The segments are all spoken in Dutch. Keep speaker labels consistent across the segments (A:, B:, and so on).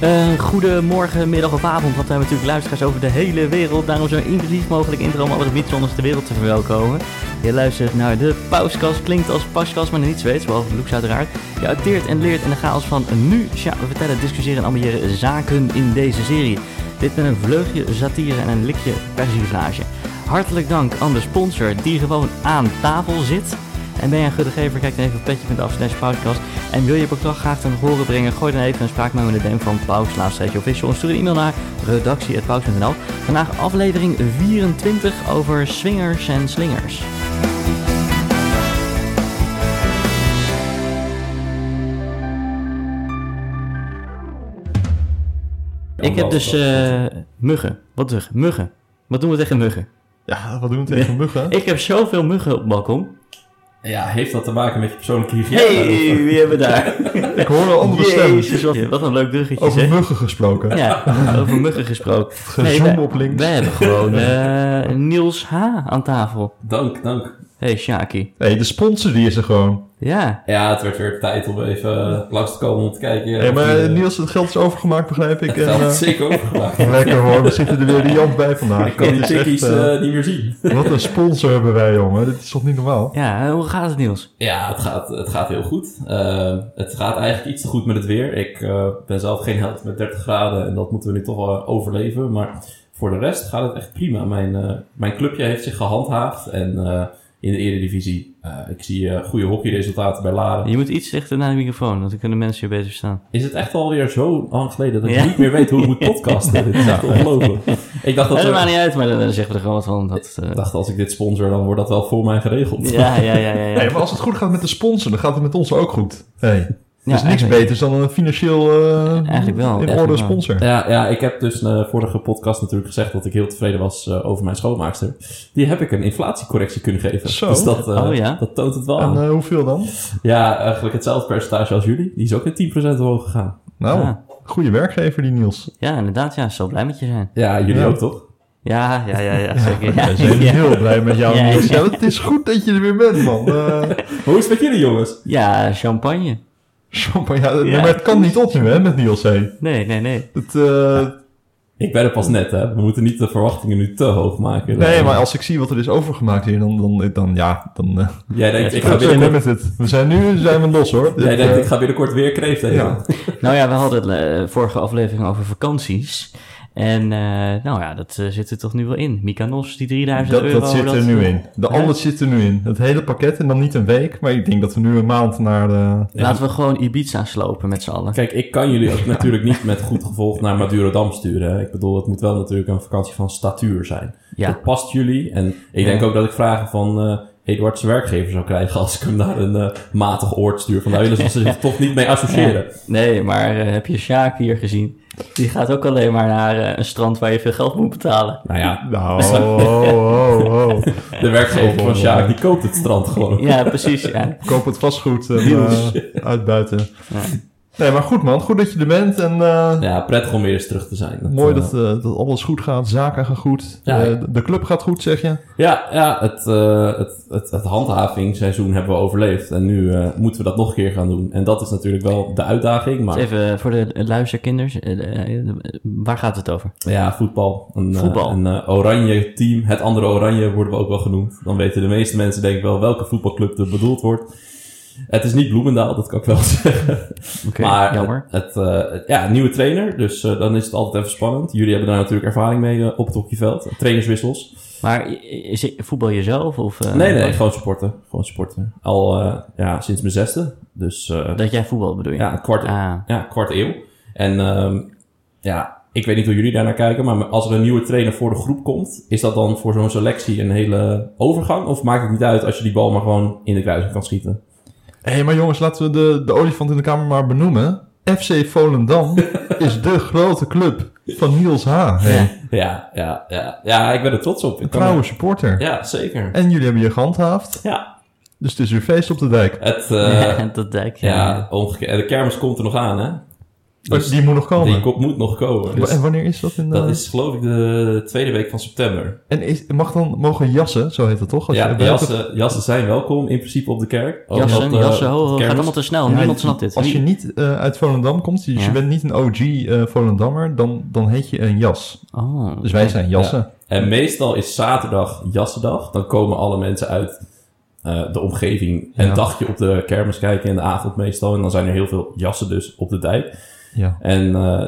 A: Eh, goedemorgen, middag of avond, want we hebben natuurlijk luisteraars over de hele wereld. Daarom zo inclusief mogelijk intro om alle gebiedszonders ter wereld te verwelkomen. Je luistert naar de pauskast, klinkt als paskast, maar niets weet, behalve Lux uiteraard. Je acteert en leert in de chaos van nu. Tja, we vertellen, discussiëren en ambiëren zaken in deze serie. Dit met een vleugje satire en een likje persiflage. Hartelijk dank aan de sponsor die gewoon aan tafel zit. En ben je een guddegever, kijk dan even op petje.af slash pauskast. En wil je je bedrag graag ten horen brengen, gooi dan even een spraakmemo in de DM van Paus, laatst official. En stuur een e-mail naar redactie.paus.nl. Vandaag aflevering 24 over swingers en slingers. Ik heb dus eh, muggen. Wat muggen? Muggen. Wat doen we tegen muggen?
B: Ja, wat doen we tegen muggen?
A: Ik heb zoveel muggen op het balkon.
C: Ja, heeft dat te maken met je persoonlijke hygiëne?
A: Hey, wie hebben we daar?
B: Ik hoor een andere stem.
A: Jezus, Dus wat, wat een leuk bruggetje
B: Over
A: zeg.
B: muggen gesproken.
A: Ja, over muggen gesproken.
B: Gezoom
A: wij-
B: op links.
A: Wij hebben gewoon eh, Niels H. aan tafel.
C: Dank, dank.
A: hey, Shaki.
B: hey, de sponsor die is er gewoon.
A: Ja,
C: Ja, het werd weer tijd om even eh, langs te komen om te kijken.
B: hey, maar
C: of, eh,
B: Niels, het geld is overgemaakt, begrijp ik. En,
C: Dat had
B: eh,
C: het zeker overgemaakt.
B: lekker hoor, we zitten er weer de Jan bij vandaag.
C: Ik kan
B: Dat
C: die
B: is echt,
C: tikkies
B: eh,
C: eh, niet meer zien.
B: wat een sponsor hebben wij, jongen. Dit is toch niet normaal?
A: ja, hoe gaat het Niels?
C: Ja, het gaat, het gaat heel goed. Eh, het gaat eigenlijk iets te goed met het weer. Ik eh, ben zelf geen held met 30 graden en dat moeten we nu toch wel overleven. Maar voor de rest gaat het echt prima. Mijn, eh, mijn clubje heeft zich gehandhaafd en eh, in de eredivisie. eh ik zie eh, goede hockeyresultaten bij Laren.
A: Je moet iets dichter naar de microfoon, want dan kunnen mensen je beter verstaan.
C: Is het echt alweer zo lang geleden dat ik
A: Ja.
C: niet meer weet hoe ik moet podcasten? Dit is echt ongelooflijk. Ik dacht dat
A: Dat
C: we-
A: maakt niet uit, maar dan, dan zeggen we er gewoon wat van. Dat, eh,
C: ik dacht als ik dit sponsor, dan wordt dat wel voor mij geregeld.
A: ja, ja, ja, ja. ja.
B: hey, maar als het goed gaat met de sponsor, dan gaat het met ons ook goed. Hey, er
A: Ja,
B: is niks
A: eigenlijk.
B: beters dan een financieel eh,
A: Eigenlijk wel,
B: in
A: eigenlijk
B: orde
A: wel.
B: sponsor.
C: Ja, ja, ik heb dus in de vorige podcast natuurlijk gezegd dat ik heel tevreden was eh, over mijn schoonmaakster. Die heb ik een inflatiecorrectie kunnen geven.
B: Zo.
C: Dus dat, eh,
A: Oh, ja.
C: dat toont het wel
B: En
C: aan.
B: eh, hoeveel dan?
C: Ja, eigenlijk hetzelfde percentage als jullie. Die is ook met 10% omhoog gegaan.
B: Nou,
A: Ja.
B: goede werkgever die Niels.
A: Ja, inderdaad, ja, ze zal blij met je zijn.
C: Ja, jullie
B: Ja.
C: ook toch?
A: Ja, ja, ja, ja zeker.
B: Wij zijn
A: Ja,
B: heel blij met jou,
A: Ja,
B: Niels.
A: ja.
B: Ja, het is goed dat je er weer bent, man. Eh,
C: Hoe is het met jullie jongens?
A: ja, champagne.
B: Champagne, ja,
A: Ja.
B: maar het kan niet op nu, hè, met Niels hé.
A: Nee, nee, nee.
B: Het, eh,
C: Ik ben er pas net, hè. We moeten niet de verwachtingen nu te hoog maken. Eh,
B: nee,
C: Dan-
B: maar als ik zie wat er is overgemaakt hier, dan, dan, dan ja, dan... eh,
C: Jij denkt,
A: Ja,
C: ik
A: het
C: ga
B: we zijn
C: binnenkort,
B: limited. We zijn nu zijn we los, hoor.
C: jij
B: Dit,
C: denkt,
B: eh,
C: ik ga binnenkort weer kreeft eten.
B: ja.
A: Nou ja, we hadden het eh, vorige aflevering over vakanties. En eh, nou ja, dat eh, zit er toch nu wel in. Mykonos, die 3000
B: dat,
A: euro.
B: dat zit er nu in. De
A: Ja.
B: alles zit er nu in. Het hele pakket en dan niet een week, maar ik denk dat we nu een maand naar de...
A: Laten we gewoon Ibiza slopen met z'n allen.
C: Kijk, ik kan jullie ook natuurlijk niet met goed gevolg naar Madurodam sturen. hè. Ik bedoel, het moet wel natuurlijk een vakantie van statuur zijn.
A: Ja,
C: Dat past jullie. En ik denk ook dat ik vragen van eh Eduard zijn werkgever zou krijgen als ik hem naar een eh, matig oord stuur. Van nou, jullie zullen ze zich toch niet mee associëren.
A: nee, maar eh, heb je Sjaak hier gezien? Die gaat ook alleen maar naar eh, een strand waar je veel geld moet betalen.
C: Nou ja,
B: Nou, oh, oh, oh, oh.
C: de werkgever van Sjaak, die koopt het strand gewoon.
A: Ja, precies. Ja.
B: Koop het vastgoed eh, eh, uitbuiten. Nee, maar goed, man. Goed dat je er bent en... eh,
C: Ja, prettig om weer eens terug te zijn.
B: Mooi
C: eh,
B: dat, eh, dat alles goed gaat, zaken gaan goed,
C: Ja.
B: eh, de club gaat goed, zeg je.
C: Ja, ja het, eh, het, het, het handhavingsseizoen hebben we overleefd. En nu eh, moeten we dat nog een keer gaan doen. En dat is natuurlijk wel de uitdaging. Maar
A: Dus Even voor de luisterkinders, eh, eh, waar gaat het over?
C: Ja, voetbal. Een, eh,
A: Voetbal.
C: een eh, oranje team. Het andere oranje worden we ook wel genoemd. Dan weten de meeste mensen denk ik wel welke voetbalclub er bedoeld wordt. Het is niet Bloemendaal, dat kan ik wel zeggen.
A: Oké,
C: maar
A: jammer.
C: Het, het, eh, ja, nieuwe trainer. Dus eh, dan is het altijd even spannend. Jullie hebben daar natuurlijk ervaring mee eh, op het hockeyveld. Trainerswissels.
A: eh, Maar i- is het voetbal jezelf? Of, eh,
C: nee, nee, gewoon sporten. Gewoon sporten. Al eh, ja, sinds mijn zesde. Dus eh,
A: Dat jij voetbal bedoel je?
C: ja, een kwart,
A: Ah,
C: ja, kwart eeuw. En ehm, ja, ik weet niet hoe jullie daarnaar kijken, maar als er een nieuwe trainer voor de groep komt, is dat dan voor zo'n selectie een hele overgang? Of maakt het niet uit als je die bal maar gewoon in de kruising kan schieten?
B: Hé, maar jongens, laten we de, de olifant in de kamer maar benoemen. FC Volendam is de grote club van Niels H. Hey,
C: Ja, ja, ja. Ja, ik ben er trots op. Ik kan-
B: Trouwe supporter.
C: Ja, zeker.
B: En jullie hebben je gehandhaafd,
C: Ja,
B: dus het is weer feest op de dijk.
C: het... eh,
A: dat dijk.
C: ja, omgekeerd. De kermis komt er nog aan, hè? Dus
B: die moet nog komen.
C: die kop moet nog komen. Dus
B: en wanneer is dat? In,
C: dat
B: eh,
C: is geloof ik de tweede week van september.
B: En is, mag dan, mogen jassen, zo heet dat toch? Als je
C: ja,
B: erbij hebt-
C: jassen, jassen zijn welkom in principe op de kerk. Ook
A: Jassen,
C: op, eh,
A: jassen, ho, ho,
C: kermis.
A: gaat allemaal te snel.
B: Ja,
A: Oh, Niemand snapt dit.
B: Als je niet eh, uit Volendam komt, dus
A: Ja.
B: je bent niet een OG eh, Volendammer, dan, dan heet je een jas.
A: Oh.
B: Dus wij zijn jassen.
C: En meestal is zaterdag jassendag. Dan komen alle mensen uit eh, de omgeving een
B: Ja.
C: dagje op de kermis kijken in de avond meestal. En dan zijn er heel veel jassen dus op de dijk.
B: Ja.
C: En eh,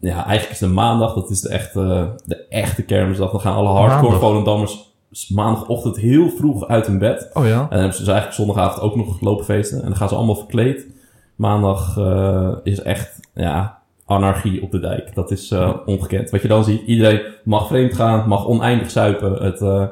C: ja, eigenlijk is de maandag, dat is de echte, de echte kermisdag. Dan gaan alle hardcore
B: Maandag.
C: Volendammers s- maandagochtend heel vroeg uit hun bed.
B: Oh ja.
C: En dan hebben ze dus eigenlijk zondagavond ook nog lopen feesten. En dan gaan ze allemaal verkleed. Maandag eh, is echt ja, anarchie op de dijk. Dat is eh, ongekend. Wat je dan ziet, iedereen mag vreemd gaan, mag oneindig zuipen. Het, eh,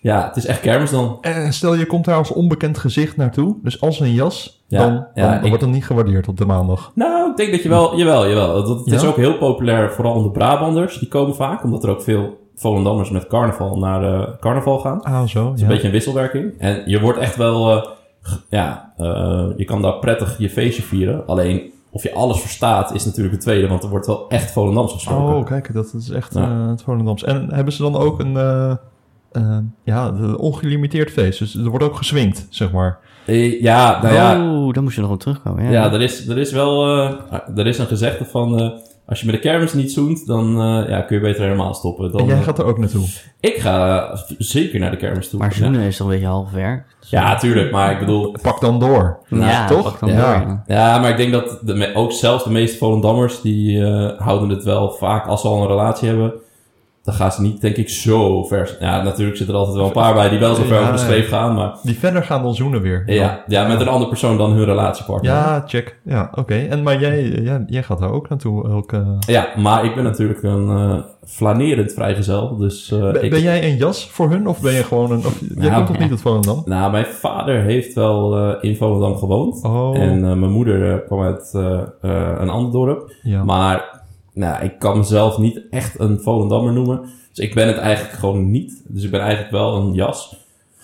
C: ja, het is echt kermis dan.
B: En stel je komt daar als onbekend gezicht naartoe, dus als een jas,
C: Ja,
B: dan, dan,
C: ja,
B: dan
C: ik-
B: wordt dat niet gewaardeerd op de maandag.
C: Nou, ik denk dat je wel, jawel, jawel. Dat, het is
B: Ja?
C: ook heel populair, vooral onder Brabanders. Die komen vaak, omdat er ook veel Volendammers met carnaval naar eh, carnaval gaan.
B: Ah,
C: Het
B: zo. Ja.
C: is een beetje een wisselwerking. En je wordt echt wel, eh, g- ja, eh, je kan daar prettig je feestje vieren. Alleen, of je alles verstaat, is natuurlijk het tweede, want er wordt wel echt Volendams gesproken.
B: Oh, kijk, dat is echt
C: Ja.
B: eh, het Volendams. En hebben ze dan ook een eh, eh, ja, een ongelimiteerd feest? Dus er wordt ook geswingd, zeg maar.
C: Eh, ja, nou ja,
A: Oh, dan moest je nog op terugkomen. Ja,
C: ja er, is, er is wel, eh, er is een gezegde van, eh, als je met de kermis niet zoent, dan eh, ja, kun je beter helemaal stoppen. Dan,
B: en jij gaat er ook naartoe.
C: Ik ga eh, zeker naar de kermis toe.
A: maar
C: ja.
A: zoenen is dan een beetje half ver.
C: ja, tuurlijk, maar ik bedoel,
B: Pak dan door.
A: Nou, ja,
B: toch?
A: pak dan
B: Ja.
A: door, ja.
C: Ja, maar ik denk dat de, me- ook zelfs de meeste Volendammers, die eh, houden het wel vaak als ze al een relatie hebben. Dan gaan ze niet, denk ik, zo ver. Ja, natuurlijk zitten er altijd wel een paar bij die wel zo ver
B: Ja,
C: over de
B: ja.
C: scheef gaan. Maar
B: Die verder gaan dan zoenen weer.
C: ja, ja, met een andere persoon dan hun relatiepartner.
B: Ja, check. Ja, oké. En maar jij, jij, jij gaat daar ook naartoe. Elke...
C: Ja, maar ik ben natuurlijk een eh, flanerend vrijgezel. Dus eh,
B: Ben,
C: ik,
B: ben jij een jas voor hun of ben je gewoon een... Of, jij
C: Nou,
B: komt toch niet uit Volendam?
C: Nou, mijn vader heeft wel eh, in Volendam gewoond.
B: Oh,
C: En eh, mijn moeder eh, kwam uit eh, eh, een ander dorp.
B: ja.
C: Maar nou, ik kan mezelf niet echt een Volendammer noemen. Dus ik ben het eigenlijk gewoon niet. Dus ik ben eigenlijk wel een jas.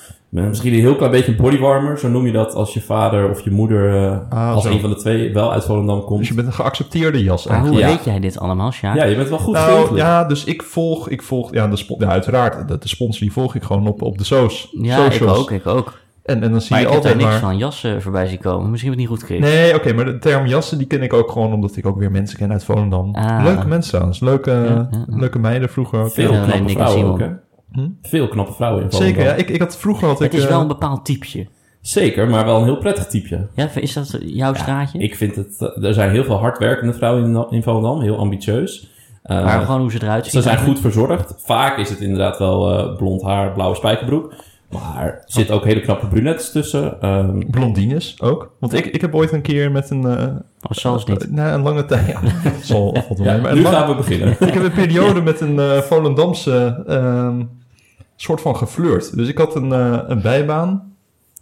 C: Ik ben misschien een heel klein beetje een bodywarmer. Zo noem je dat als je vader of je moeder, eh,
B: Ah,
C: als
B: zo.
C: een van de twee, wel uit Volendam
B: Dus
C: komt.
B: je bent een geaccepteerde jas
A: Maar hoe
B: eigenlijk.
C: Ja.
A: weet jij dit allemaal, Sjaak?
C: Ja, je bent wel goed
B: Nou
C: geregeld.
B: ja, dus ik volg, ik volg ja, de spo- ja, uiteraard, de, de sponsor die volg ik gewoon op, op de soos,
A: Ja,
B: socials.
A: ik ook, ik ook.
B: En, en dan zie
A: Maar
B: je
A: ik heb daar
B: altijd
A: niks
B: maar...
A: van jassen voorbij zien komen. Misschien heb ik het niet goed gekregen.
B: Nee, oké, maar de term jassen die ken ik ook gewoon omdat ik ook weer mensen ken uit Volendam.
A: Ah.
B: Leuke mensen trouwens, leuke,
A: Ja, ja, ja.
B: leuke meiden vroeger ook.
C: Veel
A: Ja, alleen
C: knappe
A: Nick en
C: vrouwen ook,
A: Simon.
C: hè?
B: Hm?
C: Veel knappe vrouwen in Volendam.
B: Zeker, ja. Ik, ik had vroeger had ik...
A: het is
B: eh,
A: wel een bepaald typeje.
C: Zeker, maar wel een heel prettig typeje.
A: Ja, is dat jouw straatje?
C: Ik vind het... eh, Er zijn heel veel hardwerkende vrouwen in, in Volendam. Heel ambitieus. Eh,
A: maar gewoon hoe ze eruit zien.
C: Ze zijn goed verzorgd. Vaak is het inderdaad wel eh, blond haar, blauwe spijkerbroek. Maar er zitten ook hele knappe brunettes tussen. Ehm,
B: Blondines ook. Want ik, ik heb ooit een keer met een... eh,
A: Of zelfs niet.
B: eh, nou, een lange tijd... Ja, dat zal valt wel
C: ja,
B: mee, maar
C: nu
B: een lange-
C: gaan we beginnen.
B: Ik heb een periode met een eh, Volendamse ehm, soort van geflirt. Dus ik had een, eh, een bijbaan.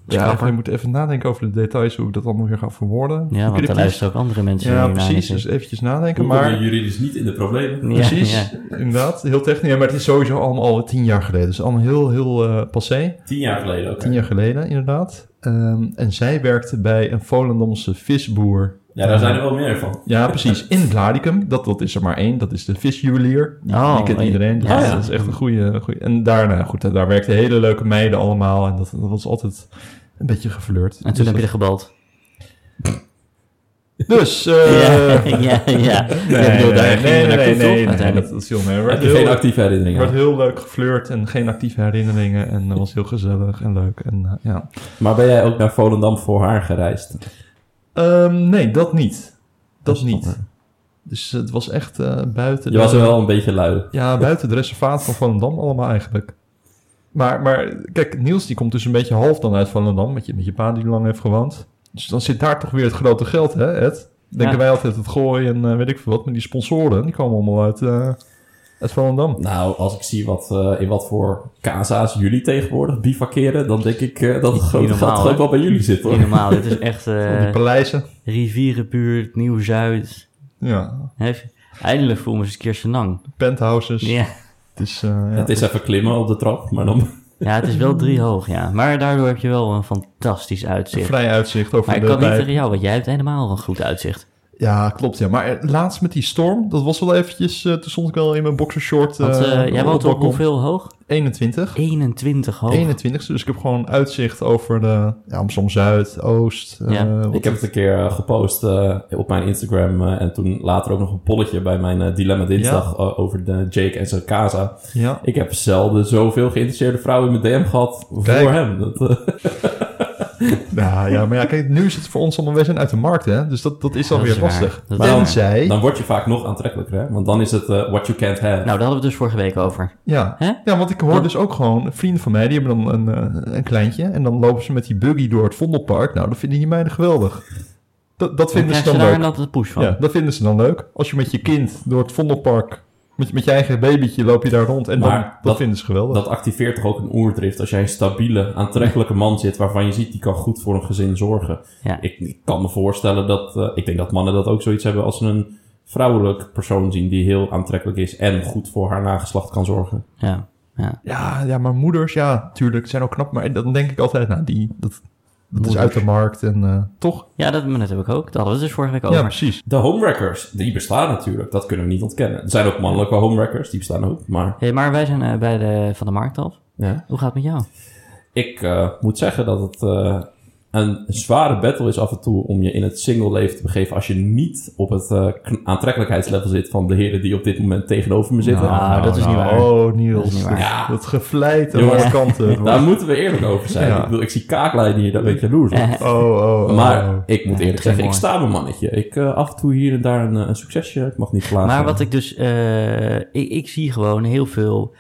B: Ja,
A: Schrijver.
B: ik moet even nadenken over de details, hoe ik dat allemaal weer ga verwoorden.
A: Ja, want
B: Knip
A: daar
B: niet.
A: luisteren ook andere mensen
B: Ja,
A: hiernaar
B: precies. Dus
A: natuurlijk.
B: eventjes nadenken.
C: Hoe kom je
B: Maar
C: juridisch niet in de problemen?
A: Ja,
B: precies,
A: ja.
B: inderdaad. Heel technisch. Ja, Maar het is sowieso allemaal al tien jaar geleden. Dus allemaal heel, heel eh, passé.
C: Tien jaar geleden ook.
B: Tien jaar geleden, inderdaad. Ehm, en zij werkte bij een Volendamse visboer.
C: Ja, daar zijn er wel meer van.
B: Ja, precies. In Blaricum. Dat, dat is er maar één. Dat is de visjuwelier. Die,
A: Oh,
B: die kent
A: eh,
B: iedereen. Dus
A: ja,
B: dat
C: ja.
B: is echt een goede. En daarna, goed, hè, daar werkten hele leuke meiden allemaal. En dat, dat was altijd een beetje geflirt.
A: En
B: Dus
A: toen heb je er
B: dat-
A: gebald.
B: Dus. eh,
A: Ja, ja, ja.
B: Nee,
A: Ja, ik bedoel,
B: nee,
A: daar ging
B: nee, nee,
A: je naartoe,
B: nee,
A: toch,
B: nee, nee,
A: uiteindelijk?
B: dat dat viel mee. Er
C: Heb
B: werd
C: je geen
B: heel,
C: actieve
B: er
C: herinneringen?
B: werd heel leuk geflirt en geen actieve herinneringen. En dat was heel gezellig en leuk. En, eh, ja.
C: Maar ben jij ook naar Volendam voor haar gereisd?
B: Ehm, nee, dat niet. Dat
C: is
B: niet. Dus het was echt eh, buiten.
C: Je
B: de-
C: was wel een beetje lui.
B: Ja, buiten het reservaat van Volendam allemaal eigenlijk. Maar, maar kijk, Niels die komt dus een beetje half dan uit Volendam. Met je, met je pa die lang heeft gewoond. Dus dan zit daar toch weer het grote geld, hè Ed? Denken
A: Ja.
B: wij altijd het gooien en eh, weet ik veel wat. Maar die sponsoren, die komen allemaal uit, eh uit Volendam.
C: Nou, als ik zie wat, eh, in wat voor casa's jullie tegenwoordig bivakeren, dan denk ik eh, dat het grote
A: normaal,
C: geld gewoon
A: hè?
C: wel bij jullie zit,
A: Niet
C: hoor.
A: normaal, dit is echt
B: Al
A: eh
B: die paleizen.
A: rivierenbuurt, Nieuw-Zuid.
B: Ja,
A: Hef- Eindelijk voel me eens een keer senang.
B: penthouses.
A: Ja.
B: Het is, eh, ja.
C: Het is even klimmen op de trap, maar dan...
A: ja, het is wel drie hoog, ja. Maar daardoor heb je wel een fantastisch
B: een
A: uitzicht.
B: vrij uitzicht over
A: Maar ik
B: de
A: kan niet
B: bij-
A: tegen jou, want jij hebt helemaal een goed uitzicht.
B: Ja, klopt. Ja. Maar eh, laatst met die storm, dat was wel eventjes... eh, toen stond ik wel in mijn boxershort.
A: Want
B: eh,
A: eh, jij woont op
B: balkon.
A: hoeveel hoog?
B: 21.
A: 21 hoog.
B: 21ste, dus ik heb gewoon uitzicht over de ja, Amsterdam Zuid, Oost. eh,
A: Ja.
B: wat-
C: Ik heb het een keer eh, gepost eh, op mijn Instagram. eh, en toen later ook nog een polletje bij mijn eh, Dilemma Dinsdag eh, over de Jake en zijn casa.
B: ja.
C: Ik heb zelden zoveel geïnteresseerde vrouwen in mijn DM gehad
B: Kijk.
C: voor hem. Dat, eh,
B: Ja, ja, maar ja, kijk, nu is het voor ons allemaal, wij zijn uit de markt, hè? Dus dat, dat is
A: Dat
B: alweer
A: is waar.
B: lastig.
A: Dat
C: is waar.
B: Tenzij,
C: dan word je vaak nog aantrekkelijker, hè? Want dan is het eh, what you can't have.
A: Nou, daar hadden we het dus vorige week over.
B: ja.
A: Hè?
B: ja, want ik hoor dus ook gewoon, vrienden van mij, die hebben dan een, eh, een kleintje. En dan lopen ze met die buggy door het Vondelpark. Nou, dat vinden die meiden geweldig. Dat, dat
A: Dan
B: vinden ze
A: krijg je
B: dan
A: daar
B: leuk.
A: een de push van.
B: Ja, dat vinden ze dan leuk. Als je met je kind door het Vondelpark, met, met je eigen babytje, loop je daar rond. En dan,
C: Maar
B: dat,
C: dat-
B: vinden ze geweldig.
C: Dat activeert toch ook een oerdrift. Als jij een stabiele, aantrekkelijke man zit waarvan je ziet die kan goed voor een gezin zorgen.
A: Ja.
C: Ik, ik kan me voorstellen dat. eh, ik denk dat mannen dat ook zoiets hebben als ze een vrouwelijk persoon zien die heel aantrekkelijk is en goed voor haar nageslacht kan zorgen.
A: Ja. ja.
B: Ja, ja, maar moeders, ja, tuurlijk, zijn ook knap. Maar dan denk ik altijd, nou, die, dat, dat is
A: Moeders.
B: uit de markt en eh, toch?
A: Ja, dat, maar dat heb ik ook. Dat hadden we het dus vorige week
B: Ja,
A: over.
B: Oh, precies.
C: De homewreckers, die bestaan natuurlijk. Dat kunnen we niet ontkennen. Er zijn ook mannelijke homewreckers, die bestaan ook. Maar
A: Hey, maar wij zijn eh, bij de, van de markt af.
C: ja.
A: Hoe gaat het met jou?
C: ik eh, moet zeggen dat het eh, een zware battle is af en toe om je in het single leven te begeven als je niet op het eh, kn- aantrekkelijkheidslevel zit van de heren die op dit moment tegenover me zitten.
A: Nou, dat is niet waar.
B: Oh, Niels.
A: Dat is niet waar.
C: Ja.
B: Dat gevleit aan
C: Jongens.
B: alle kanten.
C: Daar moeten we eerlijk over zijn.
B: Ja.
C: Ik bedoel, ik zie kaaklijnen hier, daar ben ik jaloers op.
A: Eh,
B: Oh, oh, oh.
C: Maar ik moet
A: Ja,
C: eerlijk
A: dat is
C: zeggen, ik
A: mooi.
C: sta mijn mannetje. Ik eh, af en toe hier en daar een, eh, een succesje. Ik mag niet klagen.
A: maar wat ik dus... eh, ik, ik zie gewoon heel veel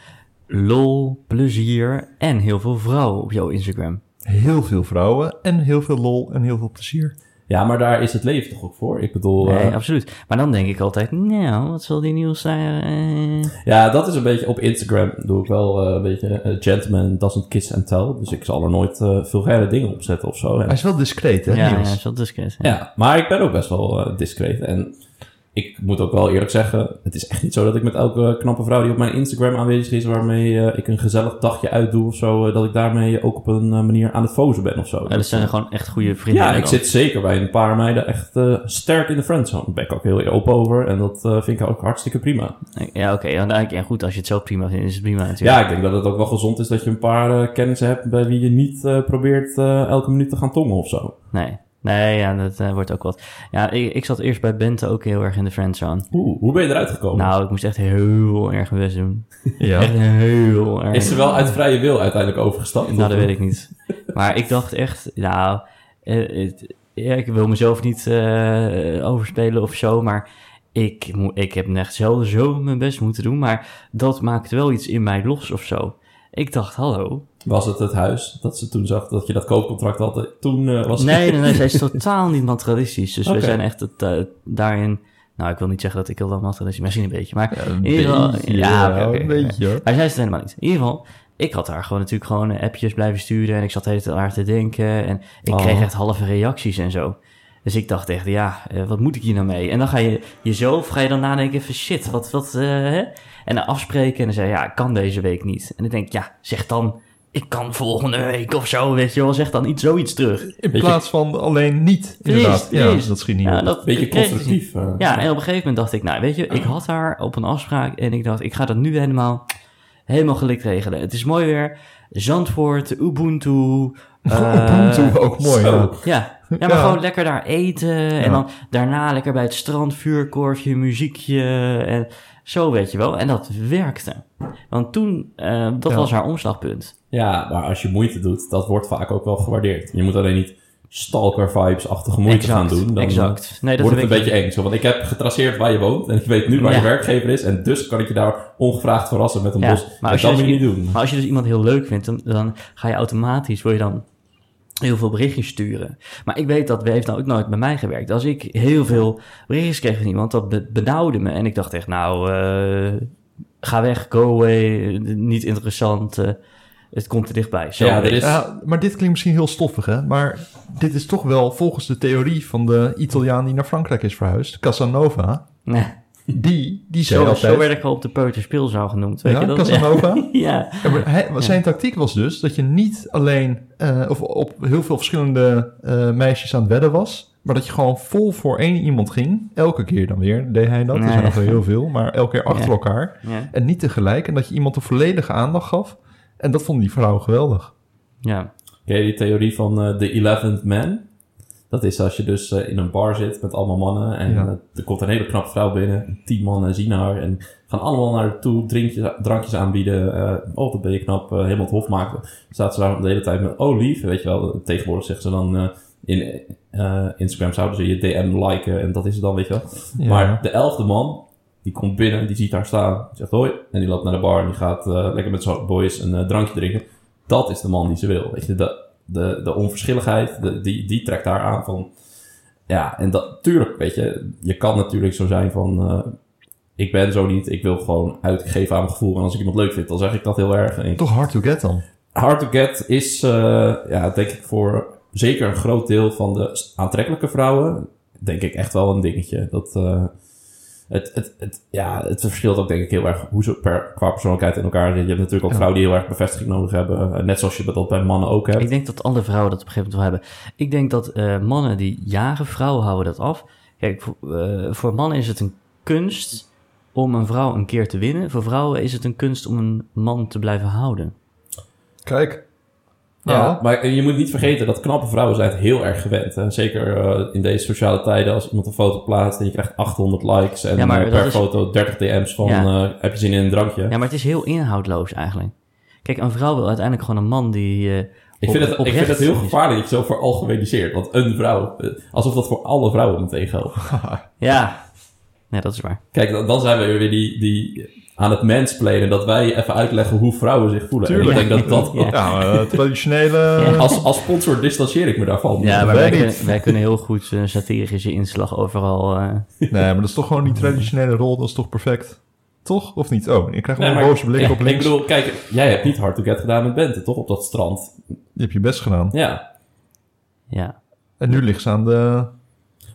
A: lol, plezier en heel veel vrouwen op jouw Instagram.
B: Heel veel vrouwen en heel veel lol en heel veel plezier.
C: Ja, maar daar is het leven toch ook voor? Ik bedoel, eh,
A: Nee, absoluut. Maar dan denk ik altijd, nou, wat zal die nieuws daar... eh,
C: ja, dat is een beetje op Instagram. Doe ik wel eh, een beetje eh, gentleman doesn't kiss and tell. Dus ik zal er nooit eh, vulgaire dingen op zetten of zo. En-
B: Hij is wel discreet, hè,
A: ja, ja,
B: Niels?
A: is wel discreet. Ja.
C: ja, maar ik ben ook best wel eh, discreet. En ik moet ook wel eerlijk zeggen, het is echt niet zo dat ik met elke eh, knappe vrouw die op mijn Instagram aanwezig is, waarmee eh, ik een gezellig dagje uitdoe of zo, eh, dat ik daarmee ook op een eh, manier aan het fozen ben of zo.
A: Ja, dat zijn gewoon echt goede vrienden.
C: Ja,
A: dan.
C: ik zit zeker bij een paar meiden echt eh, sterk in de friendzone. Daar ben ik ook heel open over en dat eh, vind ik ook hartstikke prima.
A: Ja, oké. dan denk ik- Ja, goed, als je het zelf prima vindt, is het prima natuurlijk.
C: Ja, ik denk dat het ook wel gezond is dat je een paar eh, kennissen hebt bij wie je niet eh, probeert eh, elke minuut te gaan tongen of zo.
A: Nee. Nee, ja, dat eh, wordt ook wat. Ja, ik, ik zat eerst bij Bente ook heel erg in de friendzone.
C: Oeh, hoe ben je eruit gekomen?
A: Nou, ik moest echt heel erg mijn best doen. Echt
B: Ja.
A: heel erg.
C: is ze wel uit vrije wil uiteindelijk overgestapt?
A: Nou, dat weet ik niet. Maar ik dacht echt, nou, eh, het- ja, ik wil mezelf niet eh, overspelen of zo, maar ik, moe- ik heb echt zelden zo mijn best moeten doen. Maar dat maakt wel iets in mij los of zo. Ik dacht, hallo.
C: Was het het huis dat ze toen zag dat je dat koopcontract had? Toen eh, was
A: Nee, nee, nee, zij is totaal niet materialistisch. Dus
C: Oké.
A: we zijn echt het, eh, daarin... Nou, ik wil niet zeggen dat ik heel dan materialistisch ben, misschien een beetje. Maar
B: Een
A: in ieder geval-
B: beetje,
A: ja, oké,
B: ja,
A: oké,
B: een
A: oké.
B: beetje. hoor.
A: Maar zij is het helemaal niet. In ieder geval, ik had daar gewoon natuurlijk gewoon eh, appjes blijven sturen. En ik zat de hele tijd aan haar te denken. En ik
C: Oh.
A: kreeg echt halve reacties en zo. Dus ik dacht echt, ja, eh, wat moet ik hier nou mee? En dan ga je jezelf, ga je dan nadenken van shit, wat, wat, eh, hè? En dan afspreken en dan zei je, ja, ik kan deze week niet. En ik denk, ja, zeg dan, ik kan volgende week of zo, weet je wel. Zeg dan iets, zoiets terug.
B: In
C: Beetje-
B: plaats van alleen niet, inderdaad.
A: Precies, precies.
B: Ja, dat schiet niet
A: Ja,
B: op.
A: dat
C: een beetje
A: ik kreeg het niet.
C: constructief. eh.
A: Ja, en op een gegeven moment dacht ik, nou weet je, ik had haar op een afspraak en ik dacht, ik ga dat nu helemaal, helemaal gelikt regelen. Het is mooi weer, Zandvoort, Ubuntu. eh,
B: Ubuntu, ook mooi.
C: Zo.
B: Oh, ja.
A: Ja. ja, maar
B: Ja.
A: gewoon lekker daar eten
B: Ja.
A: en dan daarna lekker bij het strand vuurkorfje, muziekje en zo weet je wel. En dat werkte. Want toen, eh, dat
B: Ja.
A: was haar omslagpunt.
C: Ja, maar als je moeite doet, dat wordt vaak ook wel gewaardeerd. Je moet alleen niet stalker-vibes-achtige moeite gaan doen. Dan
A: exact. Nee, dat
C: wordt het een
A: heb ik
C: beetje eng. Zo, want ik heb getraceerd waar je woont en ik weet nu waar
A: Ja.
C: je werkgever is. En dus kan ik je daar ongevraagd verrassen met een
A: Ja,
C: bos.
A: maar
C: en
A: als je
C: dat
A: dus
C: moet je niet
A: i-
C: doen.
A: Maar als je dus iemand heel leuk vindt, dan, dan ga je automatisch, wil je dan heel veel berichtjes sturen. Maar ik weet dat, we heeft nou ook nooit bij mij gewerkt. Als ik heel veel berichtjes kreeg van iemand, dat be- benauwde me. En ik dacht echt, nou, eh, ga weg, go away, eh, niet interessant, eh, het komt er dichtbij. Zo.
C: Ja, er is,
B: Ja, maar dit klinkt misschien heel stoffig, hè? Maar dit is toch wel volgens de theorie van de Italiaan die naar Frankrijk is verhuisd, Casanova.
A: Nee,
B: Die, die zei
A: zo,
B: altijd...
A: zo werd ik al op de peuterspeelzaal genoemd, weet
B: ja,
A: je dat?
B: Casanova.
A: Ja,
B: Ja, maar hij- zijn tactiek was dus dat je niet alleen eh, of op heel veel verschillende eh, meisjes aan het wedden was, Maar dat je gewoon vol voor één iemand ging. Elke keer dan weer deed hij dat. Er
A: Nee.
B: zijn nog wel heel veel, maar elke keer achter
A: Ja.
B: elkaar.
A: Ja.
B: En niet tegelijk. En dat je iemand de volledige aandacht gaf. En dat vonden die vrouwen geweldig.
A: ja.
C: Ken je die theorie van eh, de Eleventh Man? Dat is als je dus eh, in een bar zit met allemaal mannen en
B: Ja.
C: eh, er komt een hele knappe vrouw binnen. Tien mannen zien haar en gaan allemaal naar haar toe, drinkjes, drankjes aanbieden. eh oh, dat ben je knap, eh, helemaal het hof maken. Staat ze daar de hele tijd met, oh lief, weet je wel. Tegenwoordig zegt ze dan eh, in eh, Instagram zouden ze je DM liken en dat is het dan, weet je wel.
B: Ja.
C: Maar de elfde man, die komt binnen, die ziet haar staan, die zegt hoi. En die loopt naar de bar en die gaat eh, lekker met zijn boys een eh, drankje drinken. Dat is de man die ze wil. Weet je, de, de, de onverschilligheid, de, die, die trekt haar aan van... Ja, en dat, tuurlijk, weet je, je kan natuurlijk zo zijn van... eh, ik ben zo niet, ik wil gewoon uitgeven aan mijn gevoel. En als ik iemand leuk vind, dan zeg ik dat heel erg. En
B: Toch hard to get dan.
C: Hard to get is, eh, ja, denk ik voor zeker een groot deel van de s- aantrekkelijke vrouwen, denk ik echt wel een dingetje. Dat, eh, het, het, het, ja, het verschilt ook denk ik heel erg hoe ze per, qua persoonlijkheid in elkaar zitten. Je hebt natuurlijk ook
B: Ja.
C: vrouwen die heel erg bevestiging nodig hebben, eh, net zoals je dat bij mannen ook hebt.
A: Ik denk dat alle vrouwen dat op een gegeven moment wel hebben. Ik denk dat eh, mannen die jagen vrouwen houden dat af. Kijk, voor, eh, voor mannen is het een kunst om een vrouw een keer te winnen. Voor vrouwen is het een kunst om een man te blijven houden.
B: Kijk. Nou,
C: Ja, maar eh, je moet niet vergeten dat knappe vrouwen zijn het heel erg gewend. Hè? Zeker eh, in deze sociale tijden als iemand een foto plaatst en je krijgt 800 likes en
A: Ja, maar
C: eh,
A: dat
C: per
A: is-
C: foto 30 DM's van
A: Ja.
C: eh, heb je zin in een drankje.
A: Ja, maar het is heel inhoudloos eigenlijk. Kijk, een vrouw wil uiteindelijk gewoon een man die. eh,
C: Ik
A: op-
C: vind, het, ik
A: oprecht
C: vind het heel
A: is.
C: gevaarlijk dat je zo veralgemeniseert. Want een vrouw, eh, alsof dat voor alle vrouwen meteen geldt.
A: Ja. Nee, dat is waar.
C: Kijk, dan, dan zijn we weer die, die aan het mensplanen. Dat wij even uitleggen hoe vrouwen zich voelen.
B: Tuurlijk.
C: En ik denk dat dat...
A: Ja.
B: Ja, eh, traditionele...
A: Ja.
C: Als, als sponsor distancieer ik me daarvan.
A: Ja, maar
B: weet
A: wij
B: niet.
A: kunnen, wij kunnen heel goed een satirische inslag overal. eh,
B: Nee, maar dat is toch gewoon die traditionele rol. Dat is toch perfect? Toch? Of niet? Oh, ik krijg
C: Nee,
B: gewoon
C: maar-
B: een boze blik
C: ja,
B: op links.
C: Ik bedoel, kijk, jij hebt niet hard to get gedaan met Bente, toch? Op dat strand.
B: Je hebt je best gedaan.
C: Ja.
A: ja,
B: En nu ligt ze aan de...